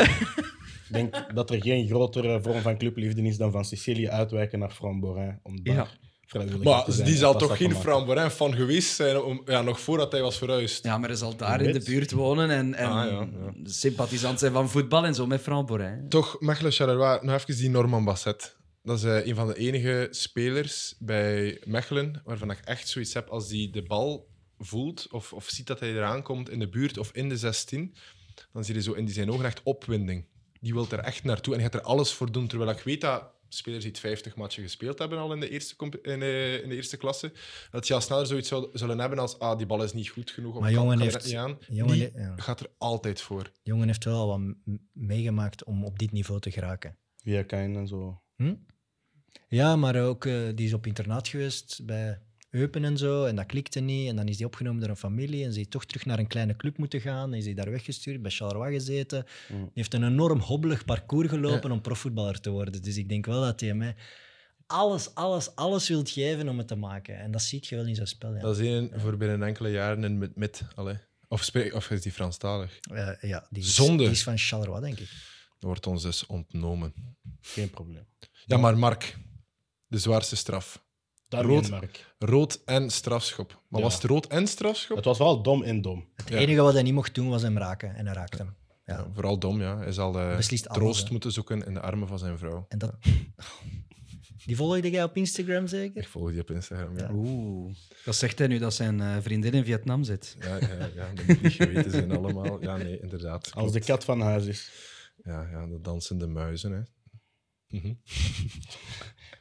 A: ik denk dat er geen grotere vorm van clubliefde is dan van Sicilië uitwijken naar Framborin. Om daar
D: Ja.
A: vrijwillig
C: Maar
A: te zijn
C: die
A: en
C: zal
A: pasta
C: toch
A: te
C: geen
A: maken.
C: Framborin fan geweest zijn, om, ja, nog voordat hij was verhuisd.
D: Ja, maar hij zal daar
A: Wie
D: in de
A: weet.
D: buurt wonen en, en
C: Ah, ja, ja.
D: sympathisant zijn van voetbal en zo met Framborin.
C: Toch, Mechelen Charleroi, nog even die Norman Basset. Dat is eh, een van de enige spelers bij Mechelen waarvan ik echt zoiets heb als die de bal voelt of, of ziet dat hij eraan komt in de buurt of in de 16, dan zie je zo in die zijn ogen echt opwinding. Die wil er echt naartoe en hij gaat er alles voor doen. Terwijl ik weet dat spelers die 50 matchen gespeeld hebben al in de eerste, comp- in de, in de eerste klasse, dat die al sneller zoiets zou- zullen hebben als ah, die bal is niet goed genoeg of
B: Maar
C: ik kan-
B: jongen
C: kan er
B: heeft-
C: niet aan.
B: jongen
C: die
B: he- ja.
C: gaat er altijd voor.
B: jongen heeft wel al wat m- meegemaakt om op dit niveau te geraken.
A: Via Kain en zo.
B: Ja, maar ook, eh, die is op internaat geweest bij Eupen en zo, en dat klikte niet. En dan is die opgenomen door een familie en ze heeft toch terug naar een kleine club moeten gaan. Dan is hij daar weggestuurd, bij Charleroi gezeten.
A: Mm.
B: Die heeft een enorm hobbelig parcours gelopen om profvoetballer te worden. Dus ik denk wel dat hij mij alles, alles, alles wilt geven om het te maken. En dat zie je wel in zijn spel. Ja,
C: Dat is één voor binnen enkele jaren in met mid. Allee. Of, spreek, of is die Franstalig?
B: Eh, ja die, is,
C: Zonde.
B: die is van Charleroi, denk ik.
C: Wordt ons dus ontnomen.
A: Geen probleem.
C: Ja, maar Mark, de zwaarste straf.
A: Daar
C: Rood.
A: geen merk.
C: Rood en strafschop. Maar
A: Ja.
C: was het rood en strafschop?
A: Het was wel dom en dom.
B: Het
C: Ja.
B: enige wat hij niet mocht doen was hem raken. En hij raakte hem. Ja.
C: Ja, vooral dom, ja. Hij zal eh,
B: Beslist alles,
C: troost
B: hè.
C: moeten zoeken in de armen van zijn vrouw.
B: En dat... Die volgde jij op Instagram zeker?
C: Ik volg die op Instagram. Ja,
D: Oeh. Dat zegt hij nu dat zijn eh, vriendin in Vietnam zit.
C: ja, ja, ja, dat moet niet geweten zijn allemaal. Ja, nee, inderdaad.
A: Als de
C: klopt.
A: kat van huis is.
C: Ja, ja, de dansende muizen, hè. Mhm.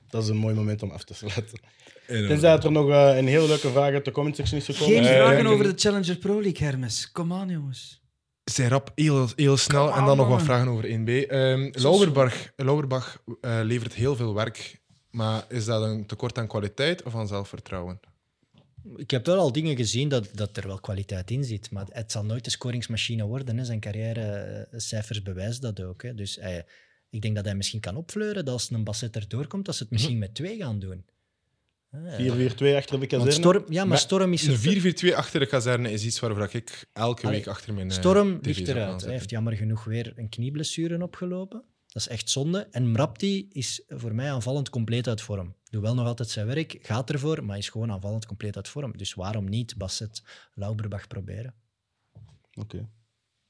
A: Dat is een mooi moment om af te sluiten.
C: Inderdaad.
A: Tenzij dat er nog eh, een heel leuke vraag uit de comment section is gekomen.
D: Geen
C: Eh,
D: vragen
C: ik-
D: over de Challenger Pro League, Hermes. Kom aan, jongens.
C: Zij rap heel, heel snel.
D: Come
C: en
D: on,
C: dan nog wat
D: man.
C: vragen over 1B. Ehm Lauberbach, Lauberbach eh, levert heel veel werk. Maar is dat een tekort aan kwaliteit of aan zelfvertrouwen?
B: Ik heb wel al dingen gezien dat, dat er wel kwaliteit in zit. Maar het zal nooit de scoringsmachine worden. Hè. Zijn carrièrecijfers bewijzen dat ook. Hè. Dus hij, ik denk dat hij misschien kan opfleuren dat als een Basset erdoor komt, dat ze het misschien met twee gaan doen. Hè,
A: 4-4-2 achter de
B: want
A: kazerne.
B: Storm, ja, maar
C: Maar
B: Storm is er-
C: Een 4-4-2 achter de kazerne is iets waarvoor ik elke
B: Allee,
C: week achter mijn. eh,
B: Storm
C: tv's
B: ligt
C: op
B: eruit.
C: aanzet.
B: Hij heeft jammer genoeg weer een knieblessure opgelopen. Dat is echt zonde. En Mrapti is voor mij aanvallend compleet uit vorm. Doet wel nog altijd zijn werk, gaat ervoor, maar is gewoon aanvallend compleet uit vorm. Dus waarom niet Basset Lauberbach proberen?
A: Oké.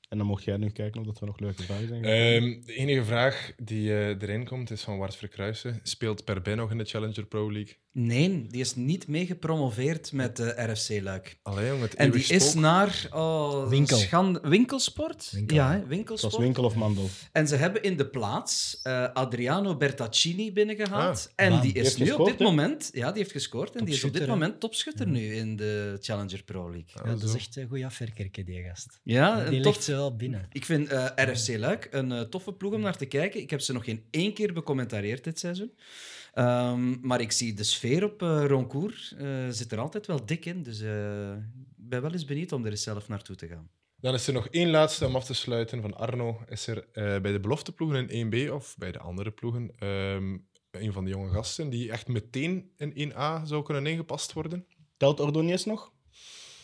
A: En dan mocht jij nu kijken of dat we nog leuke vragen zijn.
C: Ehm, de enige vraag die eh, erin komt is van Wart Verkruijsen. Speelt Per Ben nog in de Challenger Pro League?
D: Nee, die is niet meegepromoveerd met eh, de RFC Luik.
C: Allee, jongen, het
D: En die
C: eeuwig
D: is
C: spook.
D: naar oh,
B: Winkel.
D: schande- winkelsport.
B: Winkel.
D: Ja, hè,
A: Het was
D: winkelsport.
A: winkel of mandel.
D: En ze hebben in de plaats eh, Adriano Bertaccini binnengehaald. en
B: bam.
D: die
A: Ah, Die
D: is
A: heeft
D: nu op
A: gescoord,
D: dit
A: hè? Mm.
D: moment... Ja, die heeft gescoord. En die is op dit
B: Topschutter, hè?
D: moment topschutter nu in de Challenger Pro League.
C: Ah,
B: Ja, dat is
C: zo.
B: echt een goede afwerkerke, die gast.
D: Ja,
B: die
D: een
B: ligt
D: tof...
B: ze wel binnen.
D: Ik vind eh, RFC Luik een eh, toffe ploeg om naar te kijken. Ik heb ze nog geen één keer becommentarieerd dit seizoen. Ehm, maar ik zie de sfeer op eh Roncourt eh, zit er altijd wel dik in. Dus eh, ik ben wel eens benieuwd om er eens zelf naartoe te gaan.
C: Dan is er nog één laatste om af te sluiten van Arno. Is er eh, bij de belofteploegen in 1B of bij de andere ploegen ehm, een van de jonge gasten die echt meteen in 1A zou kunnen ingepast worden?
A: Telt Ordonez nog?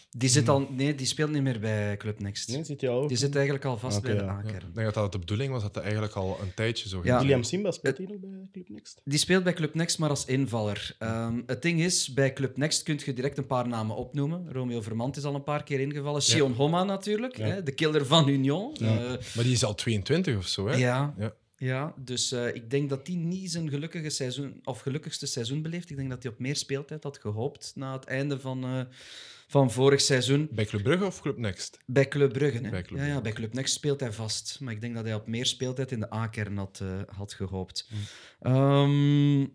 D: Die, zit al, nee, die speelt niet meer bij Club Next.
A: Mm. Nee, zit hij al ook? Ah,
D: Die zit eigenlijk al vast
A: Oké,
D: bij de
A: ja.
C: Ja,
D: A-kern.
C: Ik denk dat dat de bedoeling was dat dat eigenlijk al een tijdje zo ging.
D: Ja.
A: William Simba speelt hij nog bij Club Next?
D: Die speelt bij Club Next, maar als invaller. Ehm, het ding is, bij Club Next kun je direct een paar namen opnoemen. Romeo Vermand is al een paar keer ingevallen.
C: Ja.
D: Sion Homa natuurlijk,
A: Ja.
D: hè, de killer van Union.
A: Ja.
D: Eh,
C: Maar die is al 22 of zo, hè?
D: Ja.
C: Ja.
D: ja. dus eh, ik denk dat die niet zijn gelukkige seizoen, of gelukkigste seizoen beleeft. Ik denk dat hij op meer speeltijd had gehoopt na het einde van, eh, van vorig seizoen.
C: Bij Club Brugge of Club Next?
D: Bij Club Brugge. Hè?
C: Bij Club
D: ja, ja,
C: Brugge.
D: bij Club Next speelt hij vast. Maar ik denk dat hij
C: Hm.
D: op meer speeltijd in de A-kern had, eh, had gehoopt. Ehm,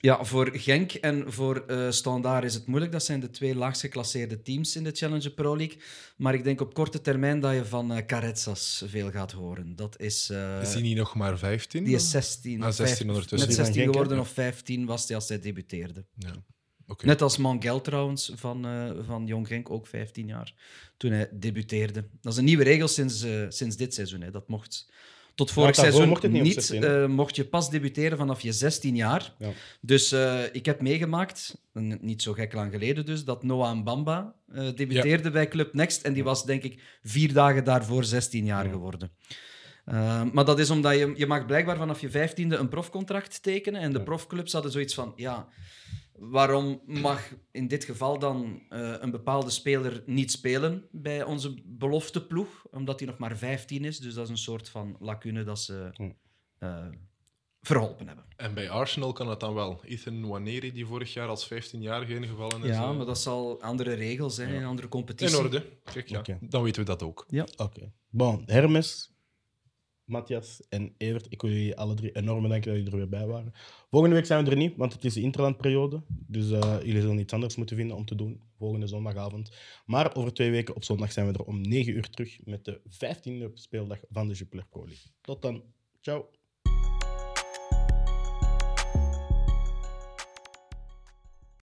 D: Ja, voor Genk en voor eh Standaard is het moeilijk. Dat zijn de twee laagst geclasseerde teams in de Challenger Pro League. Maar ik denk op korte termijn dat je van eh Caretsas veel gaat horen. Dat is... eh,
C: Is hij niet nog maar 15?
D: die is 16.
C: Ah, 16
D: vijf-
C: ondertussen.
D: Net
A: Die van
D: 16
A: Genk,
D: geworden
A: ja.
D: of 15 was hij als hij debuteerde.
C: Ja. Oké.
D: Net als Mangel trouwens, van, eh, van Jong Genk, ook 15 jaar, toen hij debuteerde. Dat is een nieuwe regel sinds, eh, sinds dit seizoen. Hè. Dat mocht tot vorig
A: daarvoor
D: seizoen
A: mocht het niet op 16, hè?
D: eh, mocht je pas debuteren vanaf je 16 jaar.
A: Ja.
D: Dus eh, ik heb meegemaakt, n- niet zo gek lang geleden dus, dat Noah Mbamba eh, debuteerde bij Club Next. En die was denk ik vier dagen daarvoor 16 jaar geworden. Uh, maar dat is omdat je, je mag blijkbaar vanaf je vijftiende een profcontract tekenen. En de
A: Ja.
D: profclubs hadden zoiets van, ja, waarom mag in dit geval dan eh, een bepaalde speler niet spelen bij onze belofteploeg? Omdat hij nog maar 15 is. Dus dat is een soort van lacune dat ze
A: Hm.
D: eh, verholpen hebben.
C: En bij Arsenal kan dat dan wel. Ethan Waneri, die vorig jaar als 15-jarige ingevallen is.
D: Ja,
C: eh,
D: maar dat zal andere regels zijn, een andere competitie.
C: In orde. Kijk, ja.
A: Oké.
C: Dan weten we dat ook.
A: Oké. Bon, Hermes, Matthias en Evert, ik wil jullie alle drie enorm bedanken dat jullie er weer bij waren. Volgende week zijn we er niet, want het is de interlandperiode. Dus eh, jullie zullen iets anders moeten vinden om te doen volgende zondagavond. Maar over twee weken op zondag zijn we er om 9 uur terug met de 15e speeldag van de Jupiler Pro League. Tot dan. Ciao.